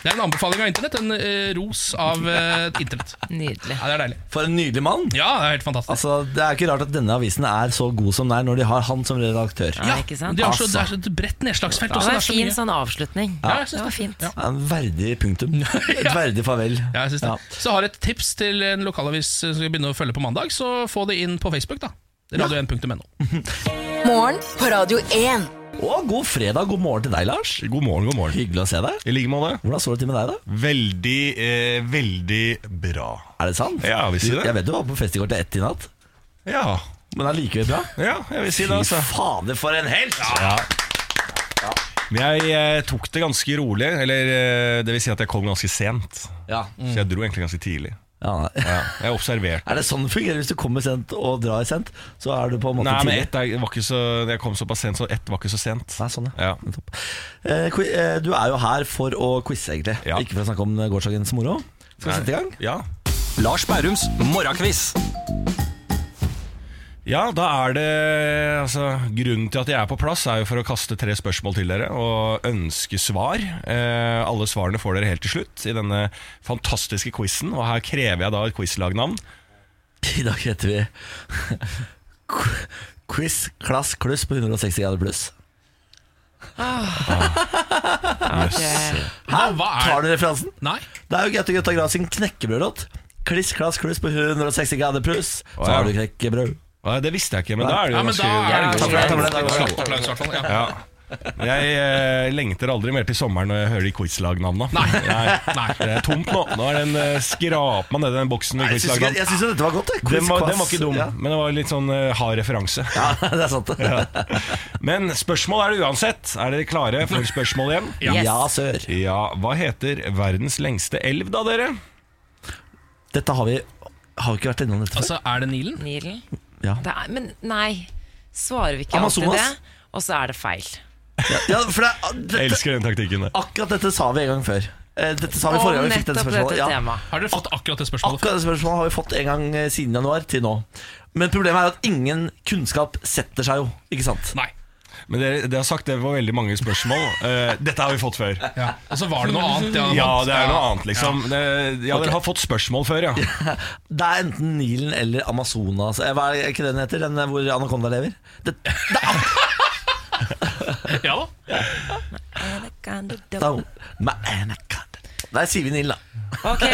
Speaker 3: Det er en anbefaling av internett. En eh, ros av eh, internett.
Speaker 4: Nydelig.
Speaker 3: Ja, det er deilig.
Speaker 2: For en nydelig mann.
Speaker 3: Ja, det er helt fantastisk.
Speaker 2: Altså, Det er ikke rart at denne avisen er så god som den er, når de har han som redaktør.
Speaker 4: Ja. ikke sant? Altså.
Speaker 3: De har så, det er så et bredt nedslagsfelt.
Speaker 4: Det
Speaker 3: også,
Speaker 4: var
Speaker 3: det
Speaker 4: en
Speaker 3: er så
Speaker 4: fin
Speaker 3: mye.
Speaker 4: sånn avslutning.
Speaker 3: Ja, jeg synes
Speaker 4: Det var fint.
Speaker 3: Ja.
Speaker 2: Ja, En verdig punktum. Et verdig farvel.
Speaker 3: Ja, jeg synes det.
Speaker 2: Ja.
Speaker 3: Så har jeg et tips til en lokalavis eh, som skal begynne å følge på mandag, så få det inn på Facebook, da. Radio1.no.
Speaker 1: Morgen på Radio 1.
Speaker 2: Og god fredag, god morgen til deg, Lars.
Speaker 6: God morgen, god morgen.
Speaker 2: Hyggelig å se deg.
Speaker 6: I like måte.
Speaker 2: Hvordan står det til med deg, da?
Speaker 6: Veldig, eh, veldig bra.
Speaker 2: Er det sant?
Speaker 6: Ja, jeg vil si det.
Speaker 2: Jeg vet du var på fest i går til ett i natt,
Speaker 6: Ja,
Speaker 2: men det er likevel bra.
Speaker 6: ja jeg vil si det, altså.
Speaker 2: Fy fader, for en helt!
Speaker 6: Ja. Men jeg eh, tok det ganske rolig, eller eh, det vil si at jeg kom ganske sent.
Speaker 2: Ja.
Speaker 6: Så jeg dro egentlig ganske tidlig.
Speaker 2: Ja.
Speaker 6: Mm. Ja, jeg observerte.
Speaker 2: Er det sånn det fungerer? Hvis du kommer sent og drar sent, så er du på en måte
Speaker 6: Nei, men
Speaker 2: tidlig?
Speaker 6: ett er- var ikke så Jeg kom såpass sent, så ett var ikke så sent.
Speaker 2: Nei, sånn, ja.
Speaker 6: Ja.
Speaker 2: Nettopp. Eh, qui- eh, du er jo her for å quize, egentlig.
Speaker 6: Ja.
Speaker 2: Ikke for å snakke om eh, gårsdagens moro. Skal vi sette i gang?
Speaker 6: Ja.
Speaker 7: Lars Bærums morgenkviss.
Speaker 6: ja, da er det altså, Grunnen til at jeg er på plass, er jo for å kaste tre spørsmål til dere og ønske svar. Eh, alle svarene får dere helt til slutt i denne fantastiske quizen. Og her krever jeg da et quizlagnavn.
Speaker 2: I dag heter vi Qu- Quiz klass kluss på 160 grader pluss.
Speaker 3: Hva, hva
Speaker 2: Tar
Speaker 3: er det?
Speaker 2: du referansen?
Speaker 3: Nei,
Speaker 2: Det er jo Gaute Gutta Grav sin knekkebrødlåt. Kliss klass kluss på 160 grader pluss, så
Speaker 6: Å, ja.
Speaker 2: har du knekkebrød.
Speaker 6: Ja, det visste jeg ikke, men da er
Speaker 3: ja,
Speaker 6: det jo
Speaker 3: men da er
Speaker 6: ganske
Speaker 3: det
Speaker 2: Ta for deg, ta for deg, ta for deg.
Speaker 3: Slapp applaus, i hvert fall. Ja.
Speaker 6: Ja. Jeg eh, lengter aldri mer til sommeren når jeg hører de quizlagnavnene.
Speaker 3: Nei.
Speaker 6: Det
Speaker 3: Nei.
Speaker 6: er tomt nå. Nå er den eh, skraper man nedi den boksen med
Speaker 2: Jeg syns ikke-
Speaker 6: quizlagnavn.
Speaker 2: jeg syns jo dette var godt. jeg. Quiz,
Speaker 6: Den var, den var
Speaker 2: klass-
Speaker 6: ikke dum,
Speaker 2: Ja.
Speaker 6: men det var litt sånn eh, hard referanse.
Speaker 2: Ja, det er sant. det.
Speaker 6: Men spørsmål er det uansett. Er dere klare for spørsmål igjen?
Speaker 4: Yes.
Speaker 2: Ja, sør.
Speaker 6: Ja, hva heter verdens lengste elv da, dere?
Speaker 2: Dette har vi har vi ikke vært innom dette før.
Speaker 3: Altså, er det Nilen?
Speaker 4: Nilen.
Speaker 2: Ja.
Speaker 4: Det er, men nei, svarer vi ikke
Speaker 2: Amazonas?
Speaker 4: alltid det? Og så er det feil.
Speaker 2: Ja, for det, er-
Speaker 6: Jeg
Speaker 2: dette,
Speaker 6: elsker den taktikken der.
Speaker 2: akkurat dette sa vi en gang før. Eh, Dette sa vi
Speaker 4: Og
Speaker 2: forrige gang vi fikk dette
Speaker 4: nettopp
Speaker 2: spørsmålet.
Speaker 4: dette
Speaker 2: Ja.
Speaker 4: temaet.
Speaker 3: Har dere fått akkurat det spørsmålet?
Speaker 2: Akkurat det spørsmålet har vi fått en gang eh, siden januar til nå. Men problemet er at ingen kunnskap setter seg jo, ikke sant?
Speaker 3: Nei.
Speaker 6: Men dere, dere har sagt det var veldig mange spørsmål. Eh, dette har vi fått før.
Speaker 3: Ja. Og så var det noe annet. Ja,
Speaker 6: Ja, det er noe annet, liksom. Det, ja, dere har fått spørsmål før, ja.
Speaker 2: Det er enten Nilen eller Amazonas. Eh, Hva er er ikke den heter? Den eh, hvor anakonda lever? Det,
Speaker 3: Ja da.
Speaker 2: da, Ma- anaconda. Nei, sier vi Nilen, da.
Speaker 4: Ok,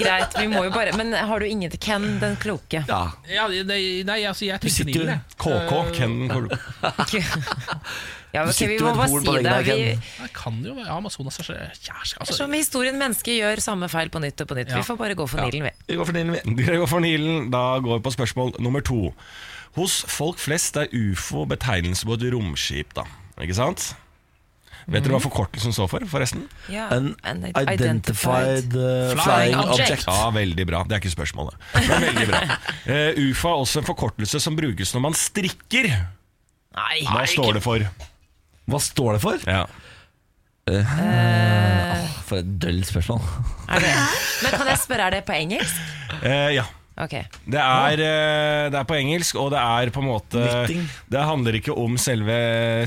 Speaker 4: greit. Vi må jo bare Men har du ingen til Ken den kloke?
Speaker 2: Ja.
Speaker 3: Ja, nei, nei, altså, jeg tenkte
Speaker 2: sitter jo-
Speaker 3: Nilen, jeg.
Speaker 6: KK, Ken Kol-
Speaker 4: Ja, ok,
Speaker 2: sitter
Speaker 4: vi
Speaker 2: jo
Speaker 4: må
Speaker 2: et
Speaker 4: bare
Speaker 2: horn på
Speaker 4: si
Speaker 2: veggen
Speaker 4: det. Vi,
Speaker 2: der, Ken.
Speaker 3: Det kan jo være ja, Amazonas er så kjæreste
Speaker 4: det er
Speaker 3: altså.
Speaker 4: som historien mennesker gjør samme feil på nytt og på nytt.
Speaker 3: Ja.
Speaker 4: Vi får bare gå for Nilen, vi.
Speaker 2: Vi går for Nilen, vi.
Speaker 6: Dere går for Nilen. Da går vi på spørsmål nummer to. Hos folk flest er ufo betegnelse på et romskip, da. Ikke sant? Vet dere hva forkortelsen står for, forresten?
Speaker 4: Ja.
Speaker 2: Unidentified eh,
Speaker 3: Flying
Speaker 2: flying
Speaker 4: object.
Speaker 2: object.
Speaker 6: Ja, veldig bra. Det er ikke spørsmålet. Men veldig bra. Eh, ufo er også en forkortelse som brukes når man strikker.
Speaker 4: Nei,
Speaker 6: Hva står det for?
Speaker 2: Hva står det for?
Speaker 6: Ja.
Speaker 2: For et dølt spørsmål.
Speaker 4: er det? Men kan jeg spørre, er det på engelsk?
Speaker 6: Eh, ja.
Speaker 4: Ok.
Speaker 6: Det er, eh, det er på engelsk, og det er på en måte
Speaker 2: Knitting.
Speaker 6: Det handler ikke om selve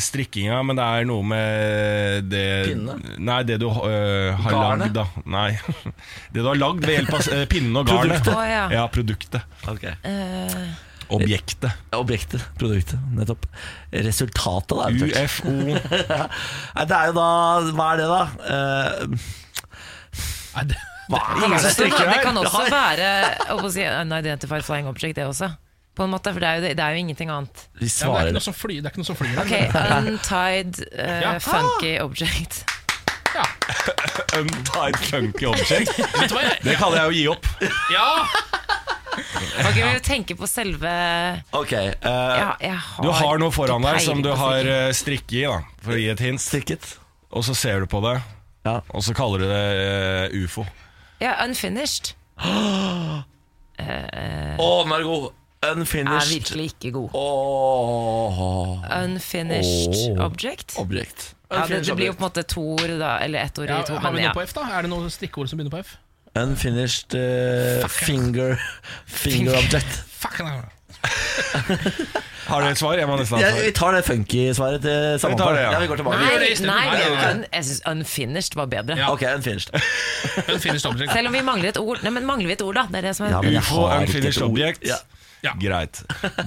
Speaker 6: strikkinga, men det er noe med det
Speaker 2: Pinnene?
Speaker 6: Nei, det du eh, har
Speaker 2: Garnet?
Speaker 6: lagd, da. Nei. Det du har lagd ved hjelp av eh, pinnen og garnet.
Speaker 2: Produktet.
Speaker 4: Å, ja.
Speaker 6: ja, produktet.
Speaker 4: Eh,
Speaker 6: Objektet.
Speaker 2: Objektet, produktet, nettopp. Resultatet, da. eventuelt.
Speaker 6: UFO.
Speaker 2: Nei, det er jo da Hva er det, da? Eh,
Speaker 3: Nei, det,
Speaker 2: hva er det?
Speaker 4: det, kan, det kan
Speaker 2: Det
Speaker 4: også
Speaker 2: har-
Speaker 4: være å si, unidentified flying object, det også. På en måte, for det er jo, det er jo ingenting annet.
Speaker 2: Vi
Speaker 3: ja, men det er ikke
Speaker 2: svarer
Speaker 3: noe som fly- det er ikke noe som flyr der.
Speaker 4: Ok, Untied eh,
Speaker 3: Ja.
Speaker 4: funky object.
Speaker 3: Ja.
Speaker 6: Untied funky object.
Speaker 3: Vet du hva jeg
Speaker 6: Det kaller jeg å gi opp.
Speaker 3: Ja!
Speaker 4: Ok, Vi tenker på selve
Speaker 2: Ok, eh,
Speaker 4: ja, jeg har
Speaker 6: Du har noe foran deg som du
Speaker 4: peiling på
Speaker 6: har
Speaker 4: strikking.
Speaker 6: eh, strikke i, da, for å gi et hint.
Speaker 2: strikket.
Speaker 6: Og så ser du på det,
Speaker 2: Ja.
Speaker 6: og så kaller du det eh, ufo.
Speaker 4: Ja, Unfinished
Speaker 2: Å, den er god!
Speaker 4: Eh. er
Speaker 2: Unfinished.
Speaker 4: virkelig ikke god.
Speaker 2: Åh
Speaker 4: Unfinished
Speaker 2: Åh.
Speaker 4: object.
Speaker 2: Objekt.
Speaker 4: Ja, det, det blir jo på
Speaker 2: Unfinished,
Speaker 4: en måte to ord, da. Eller ett ord
Speaker 3: Ja,
Speaker 4: i to.
Speaker 3: har vi
Speaker 4: Men
Speaker 3: noe
Speaker 4: ja.
Speaker 3: på F, da? Er det noe stikkord som begynner på F?
Speaker 2: Unfinished eh, finger Finger object.
Speaker 3: Fuck, nei, nei.
Speaker 6: Har du et svar? Jeg må nesten ha
Speaker 2: Ja,
Speaker 6: et
Speaker 2: vi
Speaker 6: svar.
Speaker 2: tar det funky-svaret til
Speaker 6: Vi tar
Speaker 2: Samantha.
Speaker 6: det,
Speaker 2: Ja.
Speaker 6: ja.
Speaker 2: vi går tilbake.
Speaker 4: Nei,
Speaker 3: gjør det
Speaker 4: nei,
Speaker 3: i stedet.
Speaker 4: vi
Speaker 3: Nei,
Speaker 4: gjør
Speaker 3: nei,
Speaker 4: ikke un- jeg syns unfinished var bedre.
Speaker 3: Ja.
Speaker 2: Ok, unfinished.
Speaker 3: Unfinished object.
Speaker 4: Selv om vi mangler et ord. Nei, men mangler vi et ord, da? Det er det som er
Speaker 2: Ja, men jeg
Speaker 6: Ufo,
Speaker 2: har ikke et
Speaker 6: unfinished
Speaker 2: ord.
Speaker 6: object.
Speaker 2: Ja.
Speaker 3: Ja.
Speaker 6: Greit.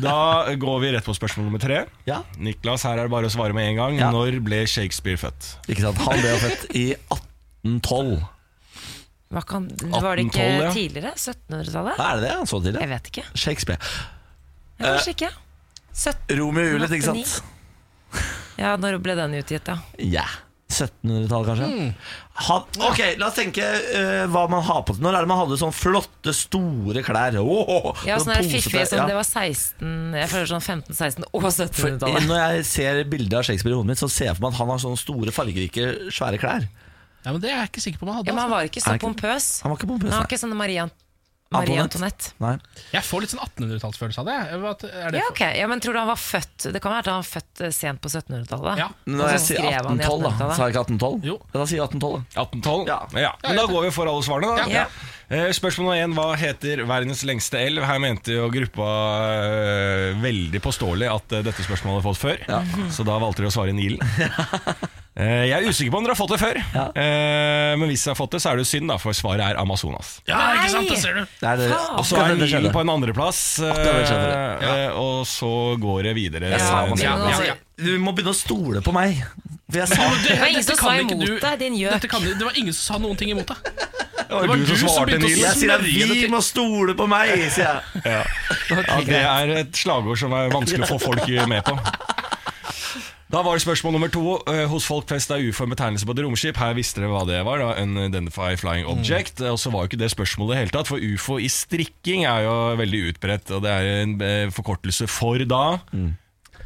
Speaker 6: Da går vi rett på spørsmål nummer tre.
Speaker 2: Ja.
Speaker 6: Niklas, her er det bare å svare med en gang.
Speaker 2: Ja.
Speaker 6: Når ble Shakespeare født?
Speaker 2: Ikke sant? Han ble jo født i 1812.
Speaker 4: Hva kan, Var det ikke
Speaker 6: 1812, ja.
Speaker 4: tidligere? 1700-tallet?
Speaker 2: Hva er det det han så til?
Speaker 4: Jeg vet ikke.
Speaker 2: Shakespeare.
Speaker 4: Ja,
Speaker 2: Eh.
Speaker 4: Kanskje ikke. 17
Speaker 2: Romeo og Juliet, ikke sant?
Speaker 4: ja, når ble den utgitt, da?
Speaker 2: Ja. 1700-tallet, kanskje?
Speaker 4: Mm.
Speaker 2: Han, ok, La oss tenke eh, hva man har på seg. Når er det man hadde sånne flotte, store klær? Åh,
Speaker 4: Ja, sånn der fiffige
Speaker 2: posete-
Speaker 4: som
Speaker 2: ja.
Speaker 4: det var 16 Jeg føler sånn 15, 16 og
Speaker 2: For, eh,
Speaker 4: 1700-tallet.
Speaker 2: når jeg ser bilder av Shakespeare i hodet mitt, så ser jeg for meg at han har sånne store, fargerike, svære klær.
Speaker 3: Ja, men Det er jeg ikke sikker på om jeg
Speaker 4: Ja,
Speaker 3: hadde.
Speaker 4: men han
Speaker 3: Altså.
Speaker 4: var ikke
Speaker 2: Er
Speaker 4: så
Speaker 2: det ikke-
Speaker 4: pompøs.
Speaker 2: Han var ikke
Speaker 4: Han
Speaker 2: pompøs.
Speaker 4: var
Speaker 2: nei.
Speaker 4: ikke sånn Marie, Ant- Marie Antoinette.
Speaker 2: Nei.
Speaker 3: Jeg får litt sånn 1800-tallsfølelse av det. jeg. Hva- Er det
Speaker 4: Ja,
Speaker 3: for-
Speaker 4: ok. Ja, men tror du han var født Det kan være at han var født eh, sent på 1700-tallet.
Speaker 3: Ja.
Speaker 2: Men
Speaker 4: Og
Speaker 2: Når
Speaker 4: så
Speaker 2: jeg sier
Speaker 4: skrev han i
Speaker 2: 1812, da,
Speaker 4: 1812.
Speaker 2: så har jeg ikke 1812?
Speaker 3: Jo.
Speaker 2: Ja, da sier jeg 1812, da.
Speaker 6: 1812?
Speaker 2: Ja.
Speaker 6: Men da går vi for alle svarene, da.
Speaker 4: Ja.
Speaker 6: Eh, Spørsmål nummer én hva heter verdens lengste elv? Her mente jo gruppa eh, veldig påståelig at eh, dette spørsmålet hadde fått før, så da valgte de å svare Nilen. Eh, Jeg er usikker på om dere har fått det før, Eh, men hvis dere har fått det, så er det jo synd, da, for svaret er Amazonas.
Speaker 3: ja, ikke sant, det ser du.
Speaker 2: Det er det,
Speaker 6: Og
Speaker 2: akkurat
Speaker 6: så er
Speaker 2: det det
Speaker 6: Nilen
Speaker 2: skjedde.
Speaker 6: på en andreplass,
Speaker 2: det skjedde.
Speaker 6: eh, og så går det videre.
Speaker 2: sa
Speaker 6: eh,
Speaker 2: Amazonas.
Speaker 6: ned.
Speaker 3: Ja, ja, ja.
Speaker 2: Du må begynne å stole på meg. For jeg sa
Speaker 3: Det
Speaker 4: Det var ingen som sa imot deg, din gjøk.
Speaker 3: Dette kan, du- det var ingen som sa noen ting imot deg.
Speaker 6: Det var du som svarte,
Speaker 3: begynte å
Speaker 6: Nilen.
Speaker 2: Jeg sier at
Speaker 3: smørje
Speaker 2: vi
Speaker 3: det til.
Speaker 2: må stole på meg, sier jeg.
Speaker 6: Ja, det er et slagord som er vanskelig å få folk med på. Da var det spørsmål nummer to. Eh, Hos folk flest er ufo en betegnelse på et romskip. Her visste dere hva det var. da Unidentified flying
Speaker 3: Mm.
Speaker 6: object. Og så var jo ikke det spørsmålet i det hele tatt, for ufo i strikking er jo veldig utbredt. Og det er en eh, forkortelse for da.
Speaker 3: Mm.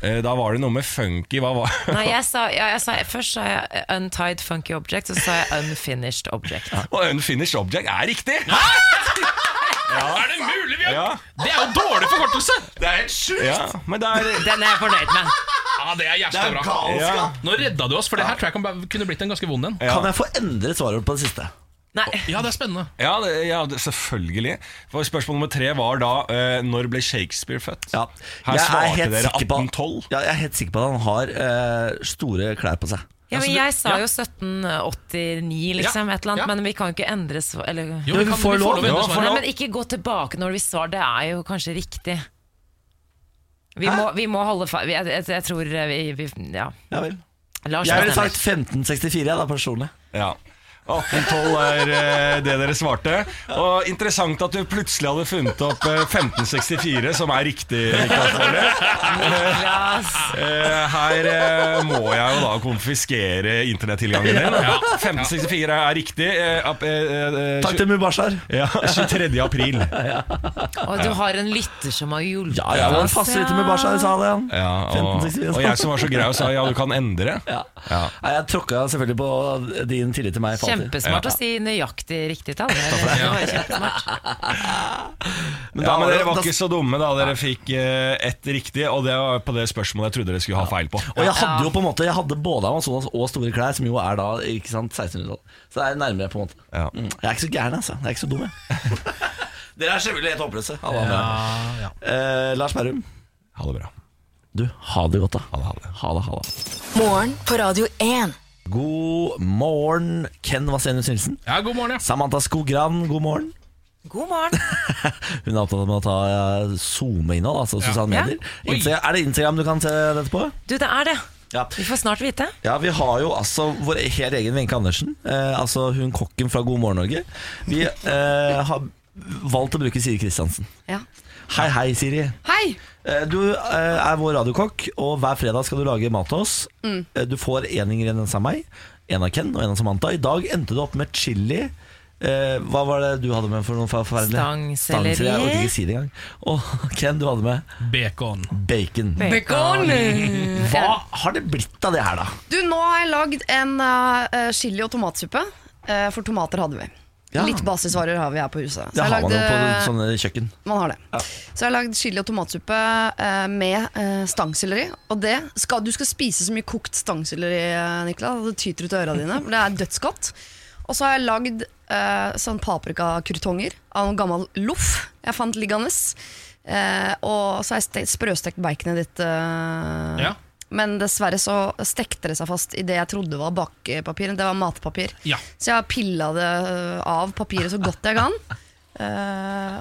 Speaker 6: Eh, Da var det noe med funky. Hva var
Speaker 4: Nei, jeg sa, ja, jeg sa, først sa jeg eh, untied funky object, så sa jeg unfinished object.
Speaker 6: Og unfinished object er riktig!
Speaker 3: Er det mulig? Vi har...
Speaker 6: Ja,
Speaker 3: Det er jo dårlig forkortelse!
Speaker 2: Det er helt sjukt!
Speaker 6: ja. Men det er
Speaker 4: Den er jeg fornøyd med.
Speaker 3: Ja, det er
Speaker 2: Det
Speaker 3: jævla
Speaker 2: er
Speaker 3: bra.
Speaker 6: ja.
Speaker 2: galskap!
Speaker 3: Nå redda du oss, for det her tror jeg kan bare- kunne blitt en ganske vond en.
Speaker 2: Kan jeg få endret svaret på det siste?
Speaker 4: Nei,
Speaker 3: Ja, det er spennende.
Speaker 6: Ja, det, ja, det- selvfølgelig. For spørsmål nummer tre var da eh, når ble Shakespeare født?
Speaker 2: Ja.
Speaker 6: Her
Speaker 2: Jeg er
Speaker 6: svarte
Speaker 2: helt
Speaker 6: dere
Speaker 2: sikker på-
Speaker 6: 1812.
Speaker 2: Ja, jeg er helt sikker på at han har eh, store klær på seg.
Speaker 4: ja, men
Speaker 3: Altså,
Speaker 4: jeg
Speaker 3: du-
Speaker 4: sa
Speaker 3: ja.
Speaker 4: jo 1789, liksom,
Speaker 3: Ja,
Speaker 4: et eller annet,
Speaker 3: ja.
Speaker 4: men vi kan jo ikke endre svar eller...
Speaker 3: Jo, vi, kan, vi får lov å endre
Speaker 6: Ja,
Speaker 3: svaret.
Speaker 4: Nei, men ikke gå tilbake når vi svar, det er jo kanskje riktig. Vi, må, vi må holde fa... Jeg, jeg, jeg tror vi, vi Ja.
Speaker 2: Ja vel.
Speaker 4: Lars
Speaker 2: Jeg ville
Speaker 4: bestemmer.
Speaker 2: sagt 1564, jeg da, personlig.
Speaker 6: Ja. 1812 er eh, det dere svarte. Og Interessant at du plutselig hadde funnet opp eh, 1564, som er riktig. Niklas Baarli.
Speaker 4: Niklas.
Speaker 6: Eh, her eh, må jeg jo da konfiskere internettilgangen din. 1564 er riktig. eh, ap- eh, eh,
Speaker 2: Takk til Mubashar.
Speaker 6: ja, 23. april.
Speaker 4: Og du har en lytter som har hjulpet
Speaker 2: Ja, ja, han passer litt med Mubashar, sa det han.
Speaker 6: Ja, og,
Speaker 2: 1564.
Speaker 6: og jeg som var så grei og sa ja, du kan endre.
Speaker 2: Ja.
Speaker 6: Ja.
Speaker 2: Nei, jeg tråkka selvfølgelig på din tillit til meg. for alltid.
Speaker 4: Kjempesmart å si nøyaktig riktig tall. Det var kjempesmart.
Speaker 2: Men da
Speaker 6: Ja, men
Speaker 2: var det-
Speaker 6: Dere var
Speaker 2: da-
Speaker 6: ikke så dumme da dere fikk eh, ett riktig, og det var på det spørsmålet jeg trodde dere skulle ha feil på.
Speaker 2: Og jeg hadde jo på en måte Jeg hadde både Amazonas og store klær, som jo er da ikke sant, 1600-tallet. Så det er nærmere, på en måte.
Speaker 6: Ja.
Speaker 2: Mm. Jeg er ikke så gæren, altså. Jeg er ikke så dum, jeg. Dere er selvfølgelig helt håpløse. alle andre. Eh, Lars Berrum,
Speaker 6: Ha det bra.
Speaker 2: du, ha det godt, da.
Speaker 6: Ha det, ha det.
Speaker 2: Ha det, ha det.
Speaker 1: Morgen på Radio 1.
Speaker 2: God morgen, Ken Vasenius Nilsen.
Speaker 3: Ja, god morgen, ja.
Speaker 2: Samantha Skogran, god morgen.
Speaker 4: God morgen.
Speaker 2: Hun er opptatt med å ta eh, SoMe-innhold, altså sosiale
Speaker 4: Ja.
Speaker 2: medier.
Speaker 3: Oi.
Speaker 2: Insta- er det Instagram du kan se dette på?
Speaker 4: Du, det er det.
Speaker 2: Ja.
Speaker 4: Vi får snart vite.
Speaker 2: Ja, Vi har jo altså vår helt egen Wenche Andersen. Eh, altså hun kokken fra God morgen Norge. Vi eh, har valgt å bruke Siri Kristiansen.
Speaker 5: Ja.
Speaker 2: Hei, hei, Siri.
Speaker 5: Hei!
Speaker 2: Eh, du eh, er vår radiokokk, og hver fredag skal du lage mat til oss. Eh, du får én ingrediens av meg, én av Ken og én av Samantha. I dag endte du opp med chili. Eh, hva var det du hadde med for noe forferdelig?
Speaker 4: Stangselleri.
Speaker 2: Jeg orker ikke si det engang. Og Ken, du hadde med
Speaker 3: Bacon.
Speaker 2: bacon. Hva har det blitt av det her, da?
Speaker 5: Du, nå har jeg lagd en eh, chili- og tomatsuppe. eh, for tomater hadde vi.
Speaker 2: Ja.
Speaker 5: Litt basisvarer har vi her på huset. Så
Speaker 2: Det
Speaker 5: jeg
Speaker 2: har man jo
Speaker 5: lagde-
Speaker 2: på sånne kjøkken.
Speaker 5: Man har det. Så jeg har lagd chili- og tomatsuppe eh, med eh, stangselleri. Og det skal, du skal spise så mye kokt stangselleri, eh, Niklas. Det tyter ut av øra dine. for Det er dødsgodt. Og så har jeg lagd eh, sånn paprikakurtonger av en gammel loff jeg fant liggende. Eh, og så har jeg ste- sprøstekt baconet ditt. Eh,
Speaker 3: Ja.
Speaker 5: Men dessverre så stekte det seg fast i det jeg trodde var bakepapir. Det var matpapir.
Speaker 3: Ja.
Speaker 5: Så jeg har pilla det øh, av papiret så godt jeg kan. Eh,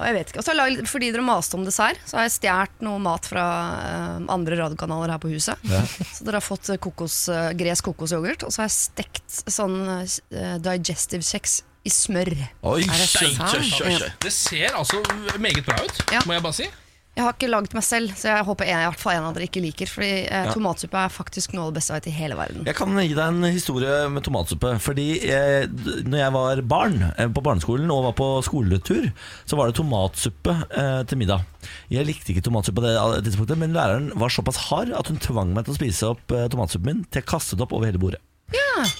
Speaker 5: og jeg vet ikke Og så har jeg laget- Fordi dere maste om dessert, så har jeg stjålet noe mat fra eh, andre radiokanaler her på huset. Så dere har fått eh, kokos, eh, gresk kokosyoghurt, og så har jeg stekt sånn eh, digestive kjeks i smør.
Speaker 2: Oi,
Speaker 4: det
Speaker 2: shit,
Speaker 4: sant?
Speaker 2: shit, shit, shit.
Speaker 3: Det ser altså meget bra ut,
Speaker 5: Ja.
Speaker 3: må jeg bare si.
Speaker 5: Jeg har ikke lagd meg selv, så jeg håper en, i hvert fall en av dere ikke liker. Fordi eh, tomatsuppe er faktisk noe av det beste jeg vet i hele verden.
Speaker 2: Jeg kan gi deg en historie med tomatsuppe. Fordi eh, d- når jeg var barn eh, på barneskolen og var på skoletur, så var det tomatsuppe eh, til middag. Jeg likte ikke tomatsuppe på det eh, tidspunktet, men læreren var såpass hard at hun tvang meg til å spise opp eh, tomatsuppen min til jeg kastet opp over hele bordet.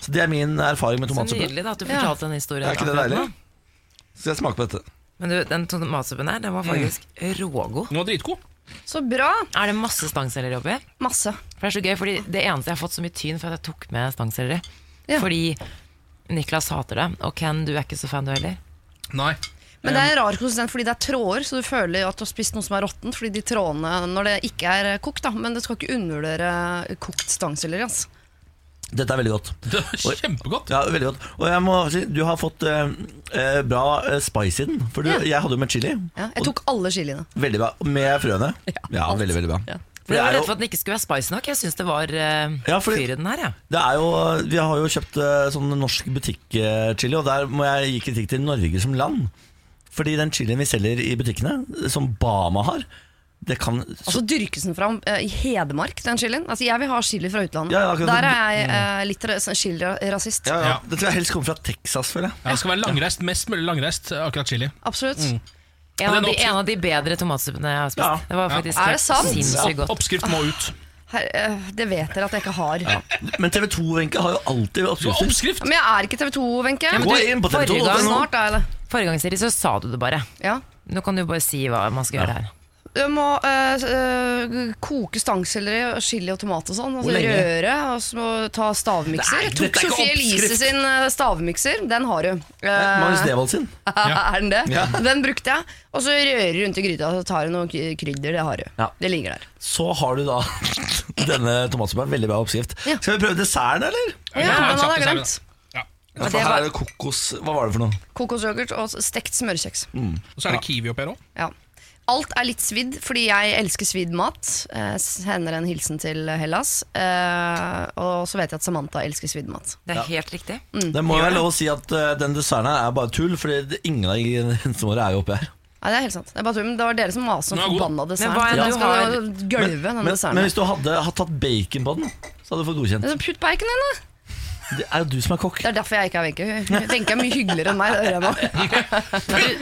Speaker 2: Så det er min erfaring med
Speaker 4: Så
Speaker 2: tomatsuppe.
Speaker 4: nydelig da at du fortalte den historien.
Speaker 2: Er ikke det
Speaker 4: akkurat
Speaker 2: deilig?
Speaker 4: nå.
Speaker 2: Skal jeg smake på dette?
Speaker 4: Men du, den tomatsuppen her, den var
Speaker 2: Mm.
Speaker 4: faktisk rågod.
Speaker 3: Den var dritgod.
Speaker 5: Så bra!
Speaker 4: Er det masse stangselleri oppi?
Speaker 5: Masse.
Speaker 4: For Det er så gøy, fordi det eneste jeg har fått så mye tyn for at jeg tok med stangselleri.
Speaker 5: Ja.
Speaker 4: Fordi Niklas hater det, og Ken, du er ikke så fan du heller.
Speaker 3: Nei.
Speaker 5: Men det er en rar konsistent fordi det er tråder, så du føler at du har spist noe som er råttent. Fordi de trådene, når det ikke er eh, kokt, da. Men det skal ikke undervurdere kokt stangselleri. Altså.
Speaker 2: Dette er veldig godt.
Speaker 3: Det var kjempegodt.
Speaker 2: Ja, veldig godt. Og jeg må si, du har fått eh, eh, bra eh, spice i den. For du,
Speaker 5: Ja.
Speaker 2: jeg hadde jo med chili.
Speaker 5: Ja, jeg tok alle chiliene.
Speaker 2: Veldig bra. Med frøene. Ja, veldig, veldig bra.
Speaker 4: For
Speaker 2: Det
Speaker 4: jeg var
Speaker 2: er
Speaker 4: redd for
Speaker 2: jo,
Speaker 4: at den ikke skulle være spicy nok. Jeg syns det var uh,
Speaker 2: Ja, fordi-
Speaker 4: fyr i den her, jeg.
Speaker 2: det er jo, vi har jo kjøpt eh, sånn norsk butikk-chili, og der må jeg gi kritikk til Norge som land. Fordi den chilien vi selger i butikkene, som Bama har, det kan
Speaker 5: Og så Altså, dyrkes den fram eh, i Hedmark, den chilien. Altså, jeg vil ha chili fra utlandet.
Speaker 2: Ja, ja, akkurat. Mm.
Speaker 5: Der er jeg eh, litt ra- sånn chili-rasist.
Speaker 2: ja, ja.
Speaker 3: Ja.
Speaker 2: Det tror jeg helst kommer fra Texas, føler jeg.
Speaker 3: Ja, det skal være langreist, mest mulig langreist, akkurat chili.
Speaker 5: Absolutt.
Speaker 2: Mm.
Speaker 4: En av,
Speaker 3: den
Speaker 4: de,
Speaker 3: oppskri-
Speaker 4: en av de bedre tomatsuppene jeg har spist.
Speaker 2: Ja.
Speaker 4: Det var faktisk
Speaker 5: Er
Speaker 4: helt
Speaker 5: det sant?
Speaker 4: sinnssykt
Speaker 3: Opp-
Speaker 4: godt.
Speaker 3: Oppskrift må ut.
Speaker 5: Her, eh, det vet dere at jeg ikke har.
Speaker 2: Men TV 2 Wenche, har jo alltid
Speaker 3: Du har
Speaker 2: oppskrifter.
Speaker 3: oppskrift!
Speaker 5: Men jeg er ikke TV 2, Wenche.
Speaker 2: Gå inn på TV 2.
Speaker 4: forrige gang-
Speaker 2: nå.
Speaker 5: Snart, da, eller?
Speaker 4: Forrige gang Siri, så sa du det bare.
Speaker 5: Ja.
Speaker 4: Nå kan du bare si hva man skal gjøre her.
Speaker 5: Du må eh, s- eh, koke stangselleri og chili og tomat og sånn. Og
Speaker 2: Hvor
Speaker 5: så
Speaker 2: lenge?
Speaker 5: røre, og så ta stavmikser.
Speaker 2: Nei,
Speaker 5: Jeg
Speaker 2: dette
Speaker 5: tok
Speaker 2: er ikke
Speaker 5: Sofie Elise
Speaker 2: oppskrift.
Speaker 5: sin eh, stavmikser. Den har du. Eh,
Speaker 2: Magnus Devold sin.
Speaker 5: er den det?
Speaker 2: Ja.
Speaker 5: Den brukte jeg. Og så rører rundt i gryta og så tar du noe k- krydder. Det har du.
Speaker 2: Ja.
Speaker 5: Det ligger der.
Speaker 2: Så har du da denne tomatsuppen. Veldig bra oppskrift. Skal vi prøve desserten, eller?
Speaker 3: ta
Speaker 5: Ja,
Speaker 3: en
Speaker 5: den
Speaker 3: kjapp
Speaker 5: hadde jeg
Speaker 3: dessert,
Speaker 5: glemt.
Speaker 3: da. Ja.
Speaker 2: Ja, for
Speaker 5: det
Speaker 2: her
Speaker 5: var-
Speaker 2: er det kokos Hva var det for noe?
Speaker 5: Kokosyoghurt og s- stekt smørkjeks.
Speaker 2: Mm.
Speaker 3: Og så er det kiwi oppi her òg.
Speaker 5: Ja. Alt er litt svidd, fordi jeg elsker svidd mat. Eh, sender en hilsen til Hellas. Eh, og så vet jeg at Samantha elsker svidd mat.
Speaker 4: Det er helt riktig.
Speaker 2: Det må jo være lov å si at eh, den desserten her er bare tull, fordi det- ingen av ingrediensene våre er jo oppi her.
Speaker 5: Nei, det er helt sant. Det, er bare, tull, men det var dere som maste om
Speaker 3: Den er god.
Speaker 5: forbanna dessert.
Speaker 4: Men hva er det
Speaker 5: Den
Speaker 4: du har?
Speaker 5: skal du gølve, den
Speaker 2: Men,
Speaker 5: desserten.
Speaker 2: men hvis du hadde hatt tatt bacon på den, så hadde du fått godkjent.
Speaker 5: Men så Putt bacon inn, da!
Speaker 2: Det er jo du som er kokk.
Speaker 5: Det er derfor jeg ikke er Wenche. Wenche er mye hyggeligere enn meg. Det hører jeg nå.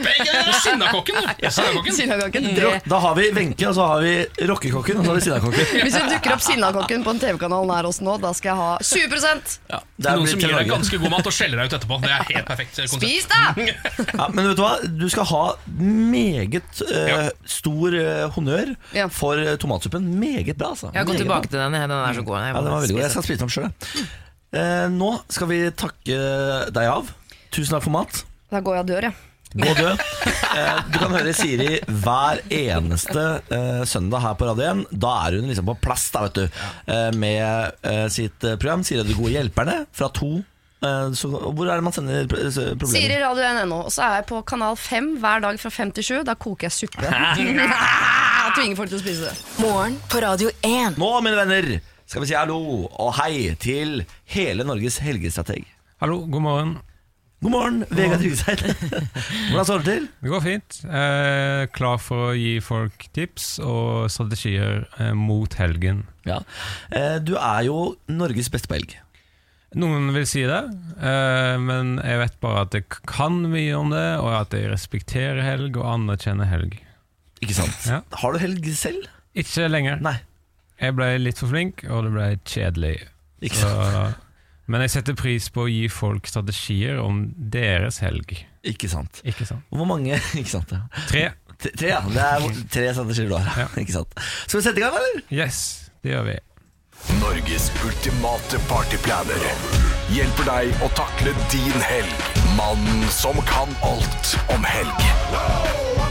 Speaker 3: Sinnakokken, du! Sinnakokken.
Speaker 5: Sinnakokken.
Speaker 2: Rock- Da har vi Wenche, og så har vi rockekokken, og så har vi sinnakokken.
Speaker 5: Hvis det dukker opp Sinnakokken på en TV-kanal nær oss nå, da skal jeg ha 20
Speaker 2: Det er
Speaker 3: Noen
Speaker 2: blitt til
Speaker 3: som gir deg
Speaker 2: Norge.
Speaker 3: ganske god mat og skjeller deg ut etterpå. Det er helt perfekt konsept.
Speaker 5: Spis, da!
Speaker 2: Ja, men vet du hva? Du skal ha meget eh,
Speaker 3: Ja.
Speaker 2: stor eh, honnør
Speaker 5: Ja.
Speaker 2: for eh, tomatsuppen. Meget bra, altså.
Speaker 4: Jeg har gått
Speaker 2: Meget
Speaker 4: tilbake til den. Den er så god. Jeg
Speaker 2: bra. Ja, den var veldig god. Jeg skal
Speaker 4: spiser den.
Speaker 2: spise den opp sjøl, jeg. Eh, nå skal vi takke deg av. Tusen takk for mat.
Speaker 5: Da går jeg og dør, jeg.
Speaker 2: Gå død. Eh, Du kan høre Siri hver eneste eh, søndag her på Radio 1. Da er hun liksom på plass da, vet du, eh, med eh, sitt eh, program Siri og de gode hjelperne fra to. eh, Så, hvor er det man sender pr- s- problemer?
Speaker 5: Siri Radio 1.no. Og så er jeg på kanal 5 hver dag fra 5 til 7. Da koker jeg suppe. Jeg Tvinger folk til å spise det.
Speaker 1: Morgen på Radio 1.
Speaker 2: Nå, mine venner, skal vi si hallo og hei til hele Norges helgestrateg.
Speaker 8: Hallo, god morgen.
Speaker 2: God morgen, Vegard Tryggeseid. Hvordan står det til?
Speaker 8: Det går fint. Eh, klar for å gi folk tips og strategier eh, mot helgen.
Speaker 2: Eh, Du er jo Norges beste på helg.
Speaker 8: Noen vil si det, eh, men jeg vet bare at jeg kan mye om det, og at jeg respekterer helg og anerkjenner helg.
Speaker 2: Ikke sant?
Speaker 8: Ja.
Speaker 2: Har du helg selv?
Speaker 8: Ikke lenger.
Speaker 2: Nei.
Speaker 8: Jeg ble litt for flink, og det ble kjedelig.
Speaker 2: Ikke
Speaker 8: Så, men jeg setter pris på å gi folk strategier om deres helg.
Speaker 2: Ikke sant.
Speaker 8: Ikke sant?
Speaker 2: Hvor mange Ikke sant, ja.
Speaker 8: Tre.
Speaker 2: Tre, tre, ja. Det er hvor- tre strategier du har.
Speaker 8: Ja.
Speaker 2: Ikke sant. Skal vi sette i gang, eller?
Speaker 8: Yes, det gjør vi.
Speaker 9: Norges ultimate partyplaner hjelper deg å takle din helg. Mannen som kan alt om helg.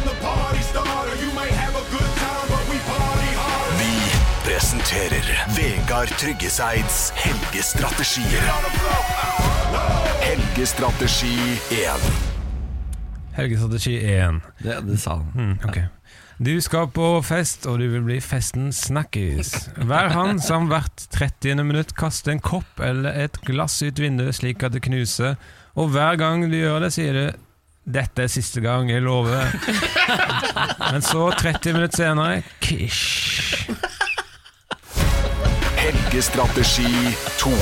Speaker 9: Vi presenterer Vegard Tryggeseids helgestrategier. Helgestrategi 1.
Speaker 8: Helgestrategi 1.
Speaker 2: Det, det sa han.
Speaker 8: Mm, ok. Du skal på fest, og du vil bli festen snakkis. Vær han som hvert 30. minutt kaster en kopp eller et glass ut vinduet slik at det knuser, og hver gang du gjør det, sier du 'dette er siste gang, jeg lover'. Men så, 30 minutter senere, kish.
Speaker 9: Helgestrategi 2.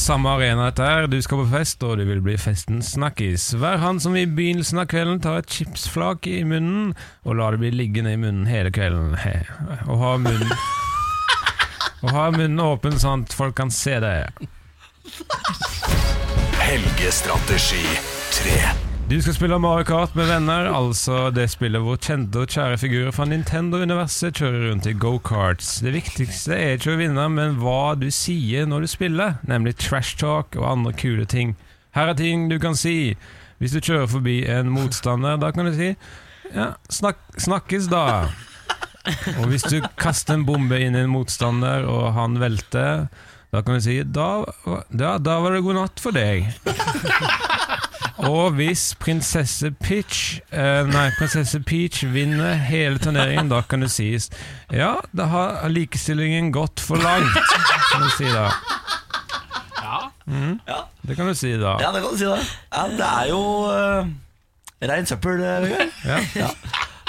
Speaker 8: Samme arena dette er. Du skal på fest, og du vil bli festens snakkis. Vær han som i begynnelsen av kvelden tar et chipsflak i munnen, og lar det bli liggende i munnen hele kvelden. He. Og ha munnen Og ha munnen åpen sånn at folk kan se deg.
Speaker 9: Helgestrategi 3.
Speaker 8: Du skal spille Mario Kart med venner, altså det spillet hvor kjente og kjære figurer fra Nintendo-universet kjører rundt i go-karts. Det viktigste er ikke å vinne, men hva du sier når du spiller, nemlig trash talk og andre kule ting. Her er ting du kan si. Hvis du kjører forbi en motstander, da kan du si Ja, snak snakkes da. Og hvis du kaster en bombe inn i en motstander, og han velter, da kan du si da, da, da var det god natt for deg. Og hvis prinsesse Peach eh, Nei, prinsesse Peach vinner hele turneringen, da kan det sies Ja, da har likestillingen gått for langt, kan du si da. Mhm.
Speaker 2: Ja.
Speaker 8: Det kan du si da.
Speaker 2: Ja, det kan du si, da. Ja, det er jo uh, rein søppel, eh, Vegard.
Speaker 8: Ja.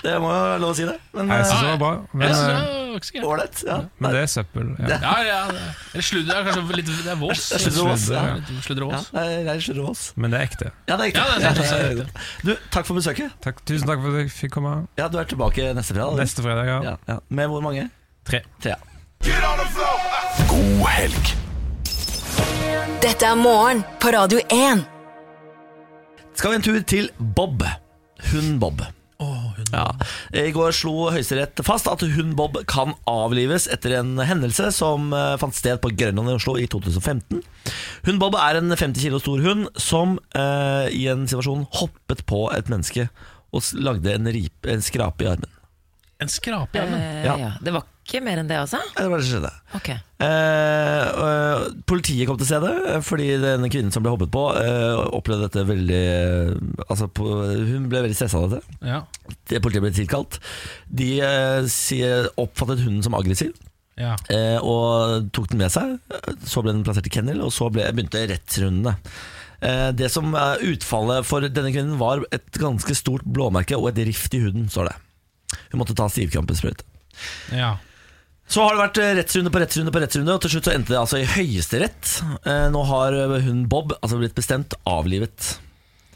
Speaker 2: Det må jo være lov å si det. Men
Speaker 8: Jeg
Speaker 2: eh,
Speaker 8: syns det var bra, men,
Speaker 3: Jeg synes
Speaker 8: eh,
Speaker 3: det var ikke så gærent.
Speaker 2: ålreit. ja.
Speaker 8: men det er søppel. Ja.
Speaker 3: Ja, ja, ja. Eller sludder. er Kanskje litt, det er vås.
Speaker 2: Det er sludder og vås, ja.
Speaker 3: Litt Sludder og
Speaker 2: Ja,
Speaker 3: vås.
Speaker 2: det er rein slurv av oss.
Speaker 8: Men det er ekte.
Speaker 2: Ja, det er riktig.
Speaker 3: Ja, det er sant, det er
Speaker 2: Ja, det er riktig. Du, takk for besøket.
Speaker 8: Takk, tusen takk for at jeg fikk komme.
Speaker 2: Ja, Du er tilbake neste fredag.
Speaker 8: Neste fredag, ja.
Speaker 2: Ja, ja. Med hvor mange?
Speaker 8: Tre.
Speaker 2: Tre. ja.
Speaker 9: God helg.
Speaker 1: Dette er morgen på Radio 1.
Speaker 2: Skal vi en tur til Bob. Hun Bob. Ja. I går slo Høyesterett fast at hun Bob kan avlives etter en hendelse som eh, fant sted på Grønland i Oslo i 2015. Hun Bob er en 50 kilo stor hund som eh, i en situasjon hoppet på et menneske og s- lagde en, rip, en skrape i armen.
Speaker 3: En skrape i armen.
Speaker 4: Eh,
Speaker 2: Ja.
Speaker 4: ja. Det var ikke mer enn det, altså?
Speaker 2: Ja, Det var det som skjedde.
Speaker 4: Ok.
Speaker 2: Eh, eh, politiet kom til stedet eh, fordi den kvinnen som ble hoppet på, eh, opplevde dette veldig eh, altså på, Hun ble veldig stressa av dette.
Speaker 3: Ja.
Speaker 2: Det- Politiet ble tilkalt. De eh, sier- oppfattet hunden som aggressiv
Speaker 3: Ja.
Speaker 2: eh, og tok den med seg. Så ble den plassert i kennel, og så ble, begynte rettsrundene. Eh, det som er utfallet for denne kvinnen, var et ganske stort blåmerke og et rift i huden, står det. Hun måtte ta stivkrampesprøyte.
Speaker 3: ja.
Speaker 2: Så har det vært eh, rettsrunde på rettsrunde på rettsrunde, og til slutt så endte det altså i Høyesterett. Eh, Nå har eh, hun Bob altså blitt bestemt avlivet.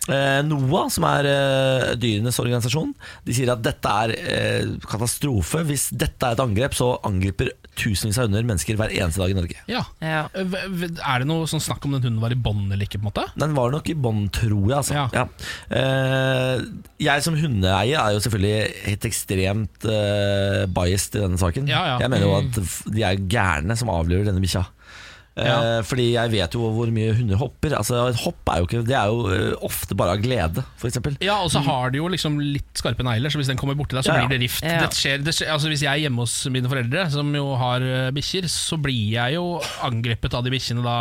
Speaker 2: Eh, NOAH, som er eh, dyrenes organisasjon, de sier at dette er eh, katastrofe. Hvis dette er et angrep, så angriper tusenvis av hunder mennesker hver eneste dag i Norge.
Speaker 3: ja.
Speaker 4: Ja.
Speaker 3: Eh, v- v- Er det noe sånn snakk om den hunden var i bånd eller ikke? på en måte?
Speaker 2: Den var nok i bånd, tror jeg. Altså.
Speaker 3: Ja.
Speaker 2: Eh, jeg som hundeeier er jo selvfølgelig helt ekstremt eh, biased i denne saken.
Speaker 3: Ja, Mm. ja.
Speaker 2: Jeg mener jo at f- de er gærne som avliver denne bikkja. Eh, fordi jeg vet jo hvor mye hunder hopper. Altså Et hopp er jo ikke Det er jo eh, ofte bare av glede, f.eks.
Speaker 3: Ja, og så har de jo liksom litt skarpe negler, så hvis den kommer borti deg, så
Speaker 2: Ja, ja.
Speaker 3: blir det rift.
Speaker 4: Mm. Ja.
Speaker 3: Det skjer, det skjer, altså hvis jeg er hjemme hos mine foreldre, som jo har eh, bikkjer, så blir jeg jo angrepet av de bikkjene da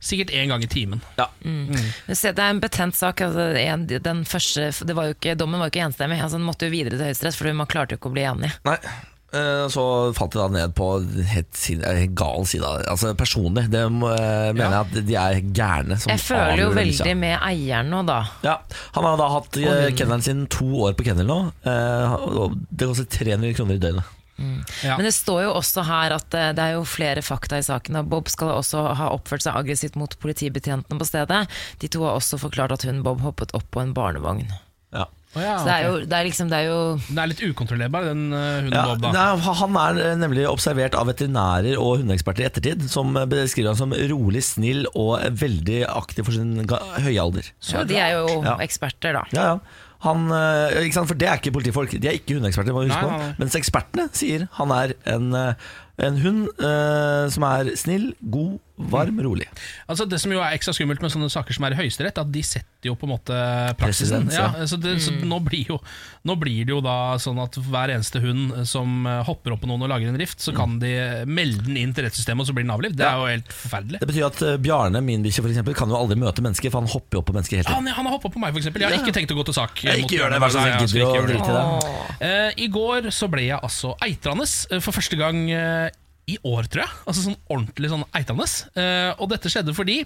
Speaker 3: sikkert én gang i timen.
Speaker 2: Ja.
Speaker 4: Men Se, det er en betent sak. Altså, en, den første, det var jo ikke, dommen var jo ikke enstemmig. Altså, den måtte jo videre til Høyesterett, for man klarte jo ikke å bli enig.
Speaker 2: Nei. Eh, Så falt jeg da ned på helt, sin- eh, helt gal side. av det. Altså Personlig det eh, mener jeg at de er gærne. som
Speaker 4: Jeg føler jo
Speaker 2: avgjorde den bikkja.
Speaker 4: veldig med eieren nå, da.
Speaker 2: Ja, Han har da hatt eh, kennelen sin to år på kennel nå. eh, og Det koster 300 kroner i døgnet.
Speaker 3: Ja.
Speaker 4: Men det står jo også her at eh, det er jo flere fakta i saken. og Bob skal også ha oppført seg aggressivt mot politibetjentene på stedet. De to har også forklart at hun Bob hoppet opp på en barnevogn.
Speaker 2: Ja.
Speaker 3: Å ja,
Speaker 4: Så det er
Speaker 3: ok.
Speaker 4: jo, det er liksom, det er jo
Speaker 3: Den er litt ukontrollerbar, den eh, hunden
Speaker 2: Ja,
Speaker 3: Bob. da
Speaker 2: nei, han er eh, nemlig observert av veterinærer og hundeeksperter i ettertid, som eh, beskriver han som rolig, snill og veldig aktiv for sin ga- høye alder.
Speaker 4: ja, De er jo
Speaker 2: Ja.
Speaker 4: eksperter, da.
Speaker 2: Ja, ja. Han, eh, ikke sant? For det er ikke politifolk. De er ikke hundeeksperter. må du huske
Speaker 3: Nei,
Speaker 2: på.
Speaker 3: nei, nei.
Speaker 2: Mens ekspertene sier han er en, eh, en hund eh, som er snill, god, varm, rolig.
Speaker 3: Altså Det som jo er ekstra skummelt med sånne saker som er i Høyesterett, at de setter jo på en måte praksisen.
Speaker 2: Presedens,
Speaker 3: Ja,
Speaker 2: ja.
Speaker 3: så det, så nå, blir jo, nå blir det jo da sånn at hver eneste hund som eh, hopper opp på noen og lager en rift, så kan
Speaker 2: Mm.
Speaker 3: de eh, melde den inn til rettssystemet, og så blir den avlivd. Det er jo helt forferdelig.
Speaker 2: Det betyr at eh, Bjarne, min bikkje, for eksempel, kan jo aldri møte mennesker, for han hopper jo opp på mennesker hele tiden.
Speaker 3: Han, han har hoppa på meg, f.eks. Jeg har ikke tenkt å gå til sak.
Speaker 2: Ja,
Speaker 3: mot
Speaker 2: ikke gjør
Speaker 3: Bjørn.
Speaker 2: det, vær så
Speaker 3: Nei,
Speaker 2: snill.
Speaker 3: jeg skal
Speaker 2: Gidder du
Speaker 3: ikke
Speaker 2: å
Speaker 3: gjøre det.
Speaker 2: drite i det?
Speaker 3: Eh, I går så ble jeg altså eitrende eh, for første gang eh, i år, tror jeg. Altså sånn ordentlig sånn eitrende. Eh, og dette skjedde fordi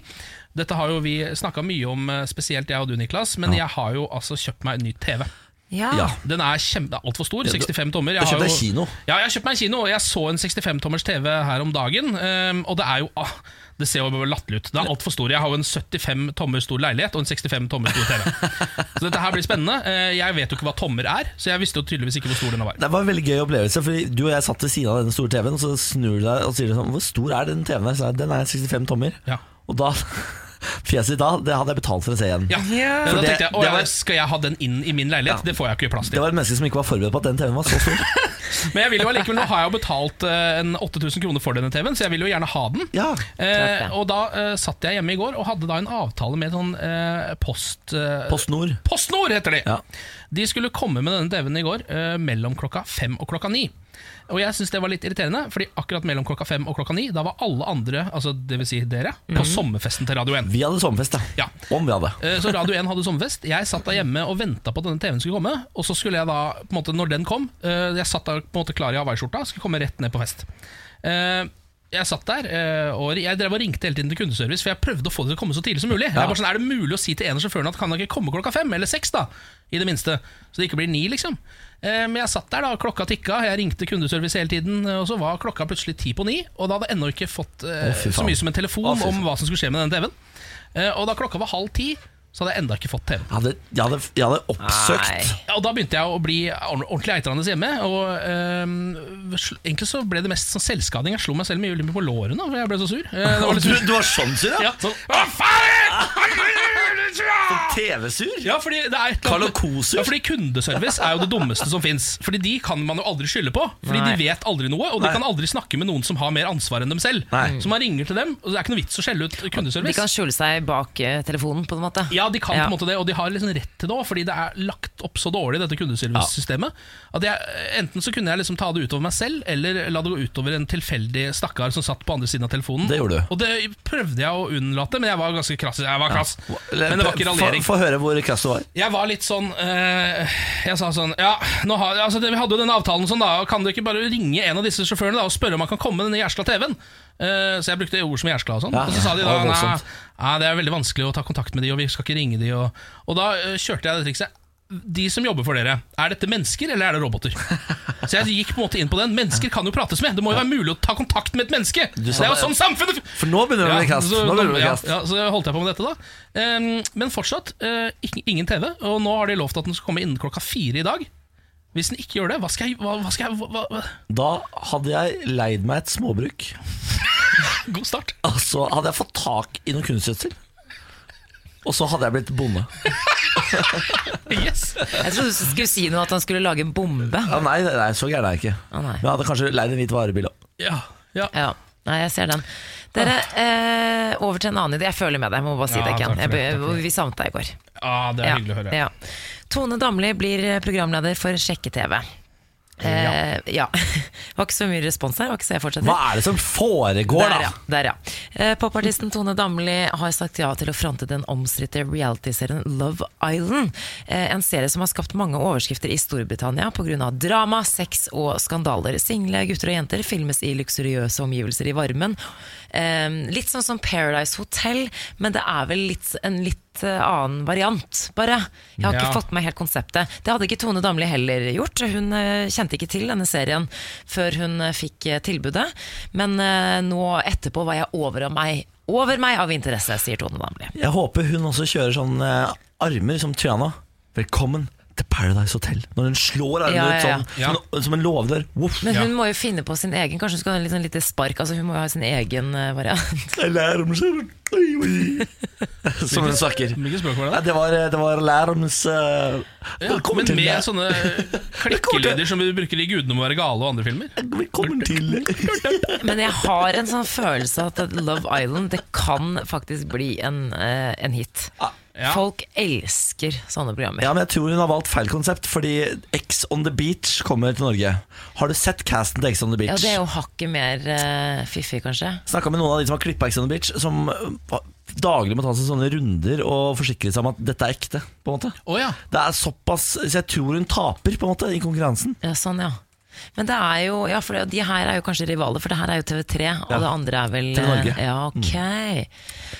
Speaker 3: Dette har jo vi snakka mye om, eh, spesielt jeg og du, Niklas, men jeg har jo altså kjøpt meg en ny TV.
Speaker 4: Ja.
Speaker 2: Ja.
Speaker 3: Den er kjempe, altfor stor,
Speaker 2: Ja, du-
Speaker 3: 65 tommer.
Speaker 2: du
Speaker 3: har
Speaker 2: kjøpte
Speaker 3: jo-
Speaker 2: deg kino.
Speaker 3: Ja, jeg har kjøpt meg en kino, og jeg så en 65-tommers TV her om dagen. ehm, og det er jo ah, Det ser jo bare latterlig ut. Det er altfor stor. Jeg har jo en 75 tommer stor leilighet og en 65 tommer stor TV. så dette her blir spennende. Eh, jeg vet jo ikke hva tommer er, så jeg visste jo tydeligvis ikke hvor stor denne var.
Speaker 2: Det var en veldig gøy opplevelse, fordi du og jeg satt ved siden av denne store TV-en, og så snur du deg og sier du sånn Hvor stor er den TV-en her? Så jeg, den er 65 tommer.
Speaker 3: Ja.
Speaker 2: Og da Fjeset ditt da, det hadde jeg betalt for å se igjen.
Speaker 3: Ja,
Speaker 4: Ja.
Speaker 3: Da
Speaker 2: For det-
Speaker 3: tenkte jeg, å,
Speaker 2: det
Speaker 3: ja,
Speaker 2: var-
Speaker 3: Skal jeg ha den inn i min leilighet? Det får jeg ikke plass
Speaker 2: Det
Speaker 3: til.
Speaker 2: var et menneske som ikke var forberedt på at den TV-en var så stor.
Speaker 3: Men jeg vil jo allikevel, nå har jeg jo betalt eh, en 8000 kroner for denne TV-en, så jeg vil jo gjerne ha den.
Speaker 2: Ja.
Speaker 3: Eh, og da eh, satt jeg hjemme i går og hadde da en avtale med sånn eh, post... Eh,
Speaker 2: PostNord.
Speaker 3: PostNord heter de!
Speaker 2: Ja.
Speaker 3: De skulle komme med denne TV-en i går eh, mellom klokka fem og klokka ni. Og jeg syns det var litt irriterende, Fordi akkurat mellom klokka fem og klokka ni Da var alle andre, altså dvs. Si dere, på
Speaker 2: Mhm.
Speaker 3: sommerfesten til Radio 1.
Speaker 2: Vi hadde sommerfest, da.
Speaker 3: Ja.
Speaker 2: Om vi hadde.
Speaker 3: Eh, Så Radio 1 hadde sommerfest. Jeg satt da hjemme og venta på at denne TV-en skulle komme. Og så skulle jeg da, på en måte, når den kom eh, Jeg satt da på en måte klar i hawaiiskjorta, skulle komme rett ned på fest. Eh, Jeg satt der eh, og jeg drev og ringte hele tiden til kundeservice, for jeg prøvde å få det til å komme så tidlig som mulig. Jeg bare sånn, Er det mulig å si til en av sjåførene at kan han ikke komme klokka fem eller seks, da? I det minste. Så det ikke blir ni, liksom. Eh, Men jeg satt der, da, klokka tikka, jeg ringte kundeservice hele tiden, eh, og så var klokka plutselig ti på ni, og da hadde jeg ennå ikke fått eh,
Speaker 2: Å, fy
Speaker 3: så
Speaker 2: faen.
Speaker 3: mye som en telefon
Speaker 2: Å, fy faen.
Speaker 3: om hva som skulle skje med den TV-en. Eh, Og da klokka var halv ti, så hadde jeg enda ikke fått TV.
Speaker 2: Jeg hadde, jeg hadde, jeg hadde oppsøkt
Speaker 4: Nei.
Speaker 3: Ja, og Da begynte jeg å bli ordent- ordentlig eitrende hjemme. Og ehm, sl- Egentlig så ble det mest sånn selvskading. Jeg slo meg selv mye ulempe på lårene, for jeg ble så sur. Eh, det var litt
Speaker 2: du,
Speaker 3: sur.
Speaker 2: du var sånn sur, ja?
Speaker 3: Ja. Hva faen?
Speaker 2: TV-sur?
Speaker 3: Ja, fordi det er et eller
Speaker 2: Carlo
Speaker 3: annet-
Speaker 2: Kosur?
Speaker 3: ja, fordi kundeservice er jo det dummeste som fins. Fordi de kan man jo aldri skylde på. Fordi
Speaker 4: Nei.
Speaker 3: de vet aldri noe, og de
Speaker 2: Nei.
Speaker 3: kan aldri snakke med noen som har mer ansvar enn dem selv.
Speaker 2: Nei.
Speaker 3: Så man ringer til dem, og det er ikke noe vits å skjelle ut kundeservice.
Speaker 4: De kan skjule seg bak eh, telefonen, på en måte.
Speaker 3: Ja, de kan
Speaker 4: Ja.
Speaker 3: på en måte det, og de har liksom rett til det òg, fordi det er lagt opp så dårlig, dette kundeservicesystemet. At jeg, enten så kunne jeg liksom ta det utover meg selv, eller la det gå utover en tilfeldig stakkar som satt på andre siden av telefonen.
Speaker 2: Det gjorde du.
Speaker 3: Og det prøvde jeg å unnlate, men jeg var ganske krass. Jeg var krass. Men det var ikke raljering.
Speaker 2: Få få høre hvor krass du var.
Speaker 3: Jeg var litt sånn eh, Jeg sa sånn Ja, nå har, altså, det- vi hadde jo denne avtalen sånn, da. og Kan du ikke bare ringe en av disse sjåførene da og spørre om han kan komme med denne jæskla TV-en? Eh, så jeg brukte ord som jæskla og sånn.
Speaker 2: Ja,
Speaker 3: og så sa de
Speaker 2: det
Speaker 3: da
Speaker 2: var
Speaker 3: nei,
Speaker 2: voldsomt.
Speaker 3: nei, det er veldig vanskelig å ta kontakt med de, og vi skal ikke ringe de. Og, og da eh, kjørte jeg det trikset. De som jobber for dere, er dette mennesker eller er det roboter? Så jeg gikk på en måte inn på den. Mennesker kan jo prates med. Det må jo være mulig å ta kontakt med et menneske! Det
Speaker 2: sa
Speaker 3: er jo
Speaker 2: det-
Speaker 3: sånn samfunnet
Speaker 2: For nå begynner det å bli krass.
Speaker 3: så,
Speaker 2: Nå begynner det å bli
Speaker 3: ja,
Speaker 2: krass.
Speaker 3: ja, så holdt jeg på med dette, da. Ehm, men fortsatt eh, ikke- ingen TV. Og nå har de lovt at den skal komme innen klokka fire i dag. Hvis den ikke gjør det, hva skal jeg, hva, hva skal jeg hva, hva?
Speaker 2: Da hadde jeg leid meg et småbruk.
Speaker 3: God start.
Speaker 2: Altså hadde jeg fått tak i noe kunstgjødsel. Og så hadde jeg blitt bonde.
Speaker 3: Yes
Speaker 4: Jeg trodde du skulle si noe at han skulle lage en bombe.
Speaker 2: Ja, nei, nei, så gæren er jeg ikke.
Speaker 4: Å, nei.
Speaker 2: Men jeg hadde kanskje leid en hvit varebil òg.
Speaker 3: Ja, ja.
Speaker 4: Ja, nei, jeg ser den. Dere, eh, over til en annen idé. Jeg føler med deg, jeg må bare si
Speaker 3: Ja,
Speaker 4: det, Ken.
Speaker 3: takk for
Speaker 4: Jeg,
Speaker 3: det,
Speaker 4: be- vi savnet deg i går.
Speaker 3: Ah, det er
Speaker 4: Ja,
Speaker 3: hyggelig å høre.
Speaker 4: ja. Tone Damli blir eh, programleder for Sjekke-TV. Eh, ja. Det var ikke så mye respons her. Var ikke så jeg fortsetter.
Speaker 2: Hva er det som foregår,
Speaker 4: Der,
Speaker 2: da?
Speaker 4: ja. Der, ja. Eh, Popartisten Tone Damli har sagt ja til å fronte den omstridte realityserien Love Island. Eh, En serie som har skapt mange overskrifter i Storbritannia pga. drama, sex og skandaler. Single gutter og jenter filmes i luksuriøse omgivelser i varmen. Eh, Litt sånn som Paradise Hotel, men det er vel litt, en litt eh, annen variant, bare. Jeg har
Speaker 3: Ja.
Speaker 4: ikke fått med helt konseptet. Det hadde ikke Tone Damli heller gjort. Hun eh, kjente ikke til denne serien før hun eh, fikk eh, tilbudet. Men eh, nå etterpå var jeg over av meg. Over meg av interesse, sier Tone Damli.
Speaker 2: Jeg håper hun også kjører sånn eh, armer som Triana. Velkommen til Paradise Hotel. Når hun slår armene
Speaker 4: Ja, ja, ja.
Speaker 2: ut sånn, Som, som en låvedør. Voff.
Speaker 4: Men hun må jo finne på sin egen. Kanskje hun skal ha en liten, lite spark. Altså hun må jo ha sin egen eh, variant.
Speaker 2: Alarmskjeren. Oi, oi. Som hun snakker.
Speaker 3: Hvilket språk var det?
Speaker 2: Nei, det var, eh, det var alarms... eh,
Speaker 3: Ja,
Speaker 2: velkommen
Speaker 3: men
Speaker 2: til
Speaker 3: med sånne klikkelyder som vi bruker i 'Gudene må være gale' og andre filmer.
Speaker 2: Velkommen til
Speaker 4: Men jeg har en sånn følelse at at Love Island det kan faktisk bli en, eh, en hit.
Speaker 3: Ja.
Speaker 4: Folk elsker sånne programmer.
Speaker 2: Ja, men jeg tror hun har valgt feil konsept, fordi X on the Beach kommer til Norge. Har du sett casten til X on the Beach?
Speaker 4: Ja, Det er jo hakket mer eh, fiffig, kanskje.
Speaker 2: Snakka med noen av de som har klippa Ex on the Beach, som eh, daglig må ta seg sånne runder og forsikre seg om at dette er ekte. på en måte
Speaker 3: Å ja.
Speaker 2: Det er såpass Så jeg tror hun taper på en måte i konkurransen.
Speaker 4: Ja, sånn, ja. Men det er jo, ja, for de her er jo kanskje rivaler, for det her er jo TV3, og det andre er vel eh,
Speaker 2: TV Norge.
Speaker 4: Ja,
Speaker 3: Mm.
Speaker 4: ok.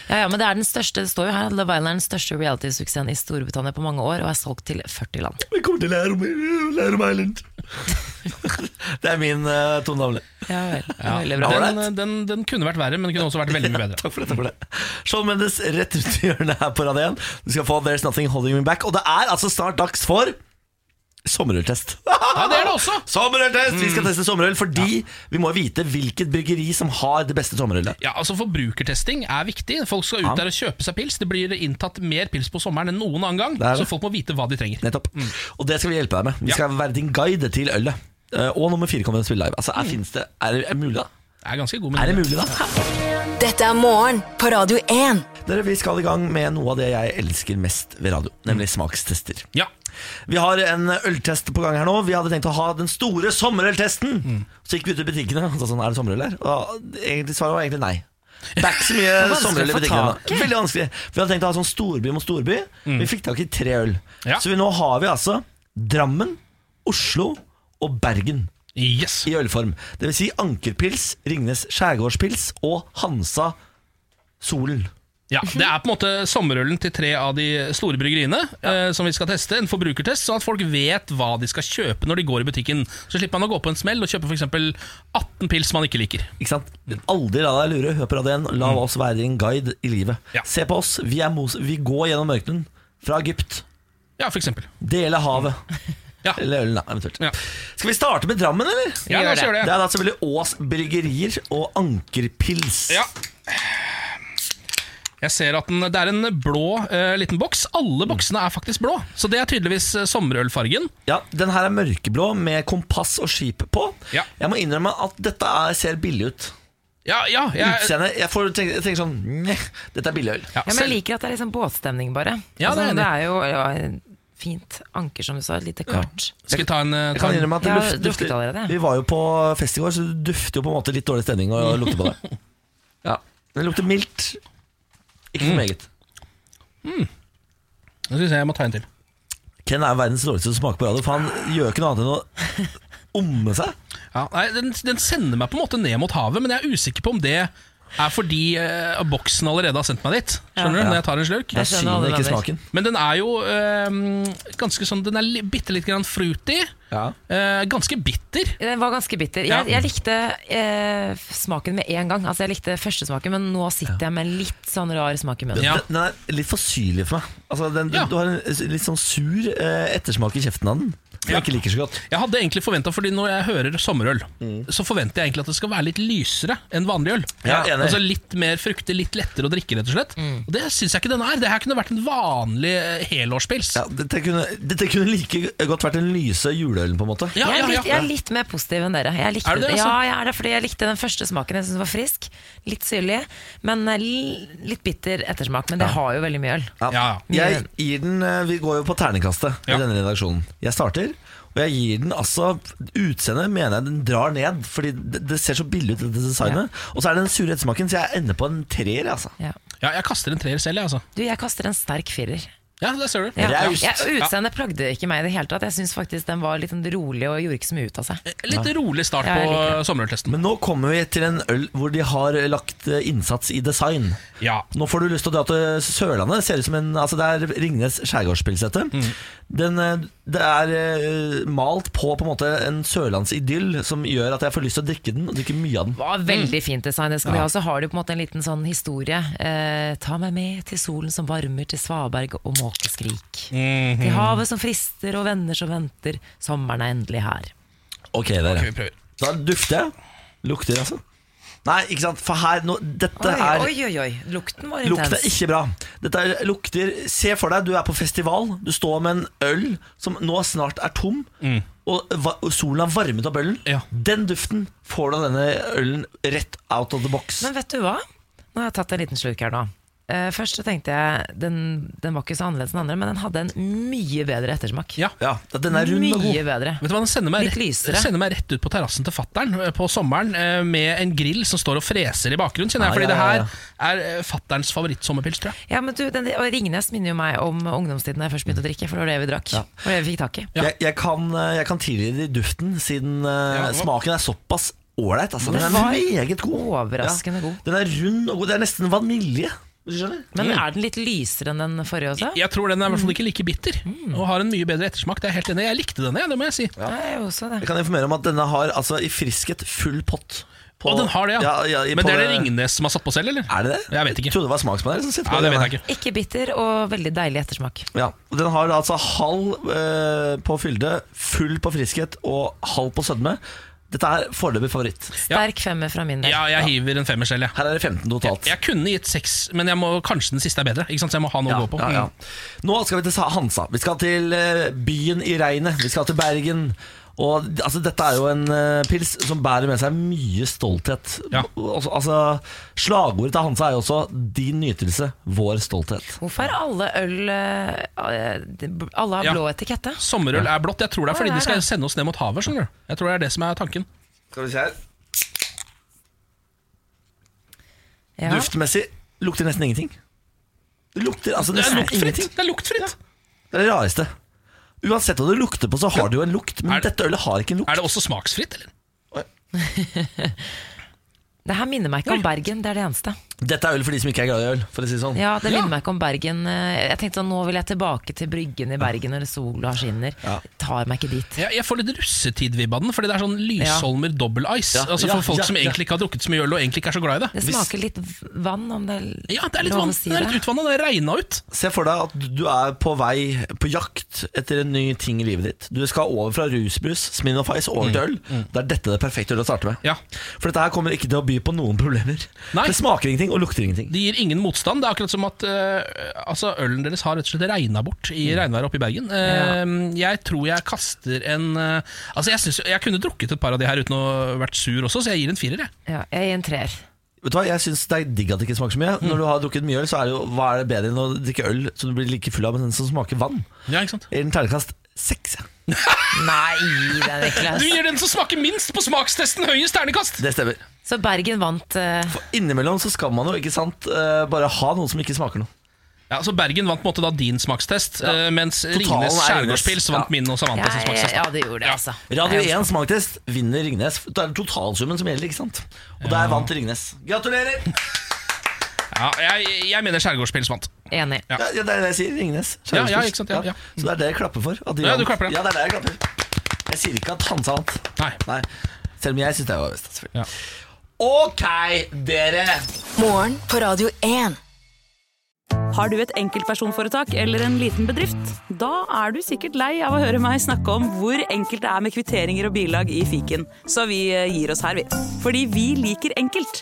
Speaker 4: Ja, ja, men det er den største, det står jo her, at Love Island er den største reality-suksessen i Storbritannia på mange år, og er solgt til 40 land.
Speaker 2: Vi kommer til Lærum, Lærum Island. det er min uh, Tone Damli.
Speaker 4: Ja vel, det er veldig bra.
Speaker 2: Ålreit.
Speaker 3: Den, den, den kunne vært verre, men den kunne også vært veldig mye bedre.
Speaker 2: Takk for dette for det. Shawn Mendes rett rundt i hjørnet her på Radio 1. Du skal få There's Nothing Holding Me Back. Og det er altså snart dags for sommerøltest.
Speaker 3: Ja, det er det også!
Speaker 2: Sommerøltest! Vi skal teste sommerøl fordi vi må vite hvilket bryggeri som har det beste sommerølet.
Speaker 3: Ja, altså Forbrukertesting er viktig. Folk skal ut der og kjøpe seg pils. Det blir inntatt mer pils på sommeren enn noen annen gang,
Speaker 2: Det er det.
Speaker 3: så folk må vite hva de trenger.
Speaker 2: Nettopp. Og det skal vi hjelpe deg med. Vi
Speaker 3: Ja.
Speaker 2: skal være din guide til ølet. Eh, Og nummer fire kommer til å spille live. Altså, er, finnes det, er, det- er mulig da?
Speaker 3: Det er ganske god
Speaker 2: Er det
Speaker 3: mening.
Speaker 2: mulig da?
Speaker 1: Dette er morgen på Radio 1.
Speaker 2: Dere, Vi skal i gang med noe av det jeg elsker mest ved radio, nemlig smakstester.
Speaker 3: Ja.
Speaker 2: Vi har en øltest på gang her nå. Vi hadde tenkt å ha den store sommerøltesten. Så gikk vi ut i butikkene og sa sånn, er det sommerøl her? Og egentlig, svaret var egentlig nei. Det er ikke så mye sommerøl
Speaker 4: å
Speaker 2: i
Speaker 4: få
Speaker 2: butikkene.
Speaker 4: tak i.
Speaker 2: Veldig vanskelig. Vi hadde tenkt å ha sånn storby mot storby. Vi fikk tak i tre øl.
Speaker 3: Ja.
Speaker 2: Så vi, nå har vi altså Drammen, Oslo og Bergen
Speaker 3: Yes.
Speaker 2: i ølform. Det vil si Ankerpils, Ringnes skjærgårdspils og Hansa Solen.
Speaker 3: Ja, Det er på en måte sommerølen til tre av de store bryggeriene eh, som vi skal teste. En forbrukertest, sånn at folk vet hva de skal kjøpe når de går i butikken. Så slipper man å gå på en smell og kjøpe f.eks. 18 pils man ikke liker.
Speaker 2: Ikke sant? Aldri la deg lure. Hør på Radio 1. La oss være din guide i livet.
Speaker 3: Mm. Ja.
Speaker 2: Se på oss. Vi, er Mos vi går gjennom ørkenen. Fra Egypt.
Speaker 3: Ja, for eksempel.
Speaker 2: Dele havet.
Speaker 3: Mm. Ja.
Speaker 2: Eller ølen, da, eventuelt.
Speaker 3: Ja.
Speaker 2: Skal vi starte med Drammen, eller?
Speaker 3: Ja, la oss
Speaker 4: Gjør
Speaker 3: gjøre
Speaker 2: Det
Speaker 3: det.
Speaker 2: er da selvfølgelig Ås Bryggerier og Ankerpils.
Speaker 3: Ja. Jeg ser at den, Det er en blå eh, liten boks.
Speaker 2: Mm.
Speaker 3: Alle boksene er faktisk blå, så det er tydeligvis eh, sommerølfargen.
Speaker 2: Ja, Den her er mørkeblå med kompass og skip på.
Speaker 3: Ja.
Speaker 2: Jeg må innrømme at dette er, ser billig ut.
Speaker 3: Ja, ja, jeg,
Speaker 2: Utseendet Jeg, får tenke, jeg tenker sånn Neh, dette er billigøl.
Speaker 4: Ja,
Speaker 3: ja,
Speaker 4: men jeg
Speaker 3: selv,
Speaker 4: liker at det er liksom båtstemning, bare.
Speaker 3: Ja,
Speaker 4: altså,
Speaker 3: det er enig.
Speaker 4: det er jo ja, fint anker, som du sa, et lite kart.
Speaker 3: skal vi ta en, eh,
Speaker 2: Jeg
Speaker 3: ta
Speaker 2: kan
Speaker 3: en
Speaker 2: innrømme at det
Speaker 4: Jeg har
Speaker 2: luft,
Speaker 4: drukket allerede.
Speaker 2: Vi var jo på fest i går, så det dufter jo på en måte litt dårlig stemning å lukte på det. Ja, Det lukter mildt. Ikke
Speaker 4: Mm.
Speaker 2: for meget.
Speaker 3: Nå skal vi se, Jeg må ta en til.
Speaker 2: Ken er verdens dårligste til å smake på radio, for han gjør ikke noe annet enn å omme seg.
Speaker 3: Ja, nei, den, den sender meg på en måte ned mot havet, men jeg er usikker på om det er fordi eh, boksen allerede har sendt meg dit. Skjønner du, når jeg tar en slurk
Speaker 2: Jeg
Speaker 4: skjønner alle
Speaker 2: syner ikke
Speaker 4: lander.
Speaker 2: smaken.
Speaker 3: Men den er jo eh, ganske sånn Den er li- bitte litt grann fruity.
Speaker 2: Ja.
Speaker 3: eh, ganske bitter.
Speaker 4: Den var ganske bitter.
Speaker 3: Ja.
Speaker 4: Jeg, jeg likte eh, smaken med en gang. Altså, jeg likte første smaken, men nå sitter jeg med en litt sånn rar smak i munnen.
Speaker 3: Ja.
Speaker 2: Den, den er litt for syrlig for meg. Altså, den,
Speaker 3: Ja.
Speaker 2: Du har en litt sånn sur eh, ettersmak i kjeften av den. som jeg ikke liker så godt.
Speaker 3: Jeg hadde egentlig forventet, fordi Når jeg hører sommerøl, så forventer jeg egentlig at det skal være litt lysere enn vanlig øl.
Speaker 2: Mm. Ja, enig.
Speaker 3: altså Litt mer fruktig, litt lettere å drikke, rett og slett.
Speaker 4: Mm.
Speaker 3: Og Det syns jeg ikke den er. Det her kunne vært en vanlig eh, helårspils.
Speaker 2: Ja, dette, kunne, dette kunne like godt vært den lyse juleølen, på en måte.
Speaker 3: Ja,
Speaker 4: jeg, er
Speaker 3: ja,
Speaker 4: litt, jeg er litt mer positiv enn dere. Jeg likte
Speaker 3: Er du det, altså?
Speaker 4: Ja, jeg er det, fordi jeg likte den første smaken. Jeg synes den var frisk. Litt syrlig, men eh, li- litt bitter ettersmak. Men det har jo veldig mye øl.
Speaker 3: Ja,
Speaker 2: Jeg gir den eh, Vi går jo på terningkastet
Speaker 3: Ja.
Speaker 2: i denne redaksjonen. Jeg starter, og jeg gir den altså Utseendet mener jeg den drar ned, fordi det, det ser så billig ut, dette designet. Og så er det den sure ettersmaken, så jeg ender på en treer, altså.
Speaker 4: Ja.
Speaker 3: Ja, jeg kaster en treer selv, jeg, altså.
Speaker 4: Du, jeg kaster en sterk firer.
Speaker 3: Ja, det ser du.
Speaker 4: Ja.
Speaker 2: Raust.
Speaker 4: Ja, Utseendet plagde ikke meg i det hele tatt. Jeg syns faktisk den var litt sånn rolig og gjorde ikke så mye ut av seg.
Speaker 3: Eh, Litt rolig start
Speaker 4: Ja, jeg
Speaker 3: på
Speaker 4: liker
Speaker 3: sommerøltesten.
Speaker 2: Men nå kommer vi til en øl hvor de har eh, lagt eh, innsats i design.
Speaker 3: Ja.
Speaker 2: Nå får du lyst til å dra til Sørlandet. Det ser ut som en, altså det er Ringnes skjærgårdspils, dette.
Speaker 3: Mm.
Speaker 2: Den, eh, Det er eh, malt på på en måte en sørlandsidyll som gjør at jeg får lyst til å drikke den, og drikke mye av den.
Speaker 4: var
Speaker 3: mm.
Speaker 4: veldig fint design. Det skal de ha. Så har de på en måte en liten sånn historie. Eh, ta meg med til solen som varmer, til svaberg og måkeskrik.
Speaker 3: Mhm.
Speaker 4: Til havet som frister og venner som venter. Sommeren er endelig her.
Speaker 2: Ok, dere.
Speaker 3: Ok, vi prøver.
Speaker 2: Da dufter jeg. Lukter, altså. Nei, ikke sant. For her nå, Dette er
Speaker 4: oi, oi, oi. Lukten var
Speaker 2: Lukter ikke bra. Dette er, lukter Se for deg, du er på festival. Du står med en øl som nå snart er tom, og, va, og solen har varmet opp ølen.
Speaker 3: Mm. Ja.
Speaker 2: Den duften får du av denne ølen rett out of the box.
Speaker 4: Men vet du hva? Nå har jeg tatt en liten slurk her nå. Eh, først så tenkte jeg den, den var ikke så annerledes enn andre, men den hadde en mye bedre ettersmak.
Speaker 3: Ja.
Speaker 2: ja, den er rund og god.
Speaker 4: mye bedre.
Speaker 3: Vet du hva, Den sender meg,
Speaker 4: Litt lysere.
Speaker 3: rett, sender meg rett ut på terrassen til fattern på sommeren eh, med en grill som står og freser i bakgrunnen. Kjenner jeg,
Speaker 2: Ah, Ja,
Speaker 3: fordi
Speaker 2: ja, ja,
Speaker 3: det her er eh, fatterns favorittsommerpils, tror jeg.
Speaker 4: Ja, men du, den, og Ringnes minner jo meg om ungdomstiden da jeg først begynte å drikke, for det var det vi drakk. Og det vi fikk tak i.
Speaker 3: Ja.
Speaker 2: Jeg, jeg kan, eh, jeg kan tilgi det i duften, siden eh,
Speaker 3: Ja, hva-
Speaker 2: smaken er såpass ålreit. Altså. Den er
Speaker 4: Den var
Speaker 2: meget god.
Speaker 4: overraskende god.
Speaker 2: Den er rund og god. Det er nesten vanilje. Hvis du skjønner?
Speaker 3: Mm.
Speaker 4: Men er den litt lysere enn den forrige også?
Speaker 3: Jeg tror den er i hvert fall ikke like bitter, og har en mye bedre ettersmak. Det er jeg helt enig i. Jeg likte denne, jeg, det må jeg si.
Speaker 4: Ja, jeg er jo også det.
Speaker 2: Jeg kan informere om at denne har altså, i friskhet full pott. på-
Speaker 3: Og den har det, ja.
Speaker 2: ja, i-
Speaker 3: Men
Speaker 2: på
Speaker 3: det er det Ringnes som har satt på selv, eller?
Speaker 2: Er det det?
Speaker 3: Jeg vet ikke.
Speaker 2: Jeg trodde det var smaksmannen som sitter på
Speaker 3: Ja, det vet
Speaker 2: den
Speaker 3: jeg
Speaker 2: her.
Speaker 3: ikke.
Speaker 4: Ikke bitter og veldig deilig ettersmak.
Speaker 2: Ja. Og Den har altså halv eh, på fylde, full på friskhet og halv på sødme. Dette er foreløpig favoritt.
Speaker 3: Ja.
Speaker 4: Sterk femmer fra min del.
Speaker 3: Ja, jeg hiver en femmer selv, jeg.
Speaker 2: Her er det 15 totalt.
Speaker 3: Jeg kunne gitt seks, men jeg må, kanskje den siste er bedre. Ikke sant? Så jeg må ha noe å gå på. Mm.
Speaker 2: Ja, ja. Mm. Nå skal vi til Sa- Hansa. Vi skal til eh, byen i regnet. Vi skal til Bergen. Og d- altså, Dette er jo en eh, pils som bærer med seg mye stolthet.
Speaker 3: Ja.
Speaker 2: Altså, altså, Slagordet til Hansa er jo også 'din nytelse, vår stolthet'.
Speaker 4: Hvorfor er alle øl eh, eh, Alle har
Speaker 3: Ja.
Speaker 4: blå etikette?
Speaker 3: Sommerøl er blått. Jeg tror det er fordi
Speaker 4: Nei,
Speaker 3: de skal
Speaker 4: nei.
Speaker 3: sende oss ned mot havet. skjønner du Jeg tror det er det som er tanken.
Speaker 2: Skal vi se her
Speaker 4: Ja.
Speaker 2: Duftmessig lukter nesten ingenting. Det lukter altså
Speaker 3: Det er
Speaker 2: nesten
Speaker 3: luktfritt!
Speaker 2: ingenting.
Speaker 3: Det er luktfritt
Speaker 2: Det er det rareste. Uansett hva du lukter på, så har du jo en lukt. Men
Speaker 3: Er det-
Speaker 2: dette ølet har ikke en lukt.
Speaker 3: Er det også smaksfritt, eller?
Speaker 4: Det her minner meg ikke om Bergen, det er det eneste.
Speaker 2: Dette er øl for de som ikke er glad i øl. For å si det sånn
Speaker 4: Ja, det
Speaker 3: Ja.
Speaker 4: minner meg ikke om Bergen eh, Jeg tenkte sånn, Nå vil jeg tilbake til Bryggen i Bergen når sola skinner. Tar meg ikke dit.
Speaker 3: Jeg, jeg får litt russetid-vibb av den, fordi det er sånn Lysholmer double ice.
Speaker 2: Ja,
Speaker 3: Altså
Speaker 2: ja,
Speaker 3: For folk
Speaker 2: ja,
Speaker 3: som
Speaker 2: ja.
Speaker 3: egentlig ikke har drukket så mye øl, og egentlig ikke er så glad i det.
Speaker 4: Det smaker litt v- vann, om det er
Speaker 3: Ja, det er litt,
Speaker 4: lov å
Speaker 3: vann,
Speaker 4: si
Speaker 3: det er litt
Speaker 4: det.
Speaker 3: utvanna. Det regna ut.
Speaker 2: Se for deg at du er på vei på jakt etter en ny ting i livet ditt. Du skal over fra rusbrus, Smirnoff Ice, over til øl. Det er dette det perfekte ølet å starte med.
Speaker 3: Ja.
Speaker 2: For dette her kommer ikke til å by på noen problemer.
Speaker 3: Nei.
Speaker 2: Det smaker ingenting og lukter ingenting.
Speaker 3: Det gir ingen motstand. Det er akkurat som at eh, altså, ølen deres har rett og slett regna bort i regnværet oppe i Bergen. Eh, Jeg tror jeg kaster en eh, Altså jeg, synes, jeg kunne drukket et par av de her uten å vært sur også, så jeg gir en firer. Jeg.
Speaker 4: Ja, jeg gir en treer.
Speaker 2: Vet du hva, Jeg syns det er digg at det ikke smaker så mye. Når du har drukket mye øl, så er det jo hva er det bedre enn å drikke øl som du blir like full av, men den som smaker vann?
Speaker 3: Ja, ikke sant?
Speaker 2: I en terningkast seks. ja.
Speaker 4: Nei, det er ikke
Speaker 3: Du gir den som smaker minst på smakstesten høyest ternekast!
Speaker 2: Det stemmer.
Speaker 4: Så Bergen vant eh,
Speaker 2: Innimellom så skal man jo ikke sant eh, bare ha noe som ikke smaker noe.
Speaker 3: Ja, så Bergen vant på en måte da din smakstest, eh, mens
Speaker 2: Totalen
Speaker 3: Ringnes
Speaker 2: er Ringnes.
Speaker 3: skjærgårdspils vant
Speaker 2: Ja.
Speaker 3: min og Samantha sin
Speaker 4: jeg,
Speaker 3: smakstest.
Speaker 4: Ja, det gjorde det,
Speaker 3: Ja.
Speaker 4: altså.
Speaker 2: Radio
Speaker 4: Jeg-
Speaker 2: 1 smaktest vinner Ringnes. Da er det totalsummen som gjelder, ikke sant? Og der vant Ringnes. Gratulerer!
Speaker 3: Ja, jeg, jeg mener skjærgårdspils vant.
Speaker 4: Enig.
Speaker 3: Ja.
Speaker 2: Ja, ja, det er det jeg sier. Ringnes.
Speaker 3: Ja, ja, ikke sant, ja, ja.
Speaker 2: Så det er det jeg klapper for. at de
Speaker 3: Ja,
Speaker 2: vant.
Speaker 3: du klapper, ja.
Speaker 2: ja, det er det jeg klapper. Jeg sier ikke at Hansa vant.
Speaker 3: Nei.
Speaker 2: Nei. Selv om jeg syns det var best. selvfølgelig.
Speaker 3: Ja.
Speaker 2: Ok, dere!
Speaker 1: Morgen på Radio 1. Har du et enkeltpersonforetak eller en liten bedrift? Da er du sikkert lei av å høre meg snakke om hvor enkelt det er med kvitteringer og bilag i fiken, så vi gir oss her, vi. Fordi vi liker enkelt.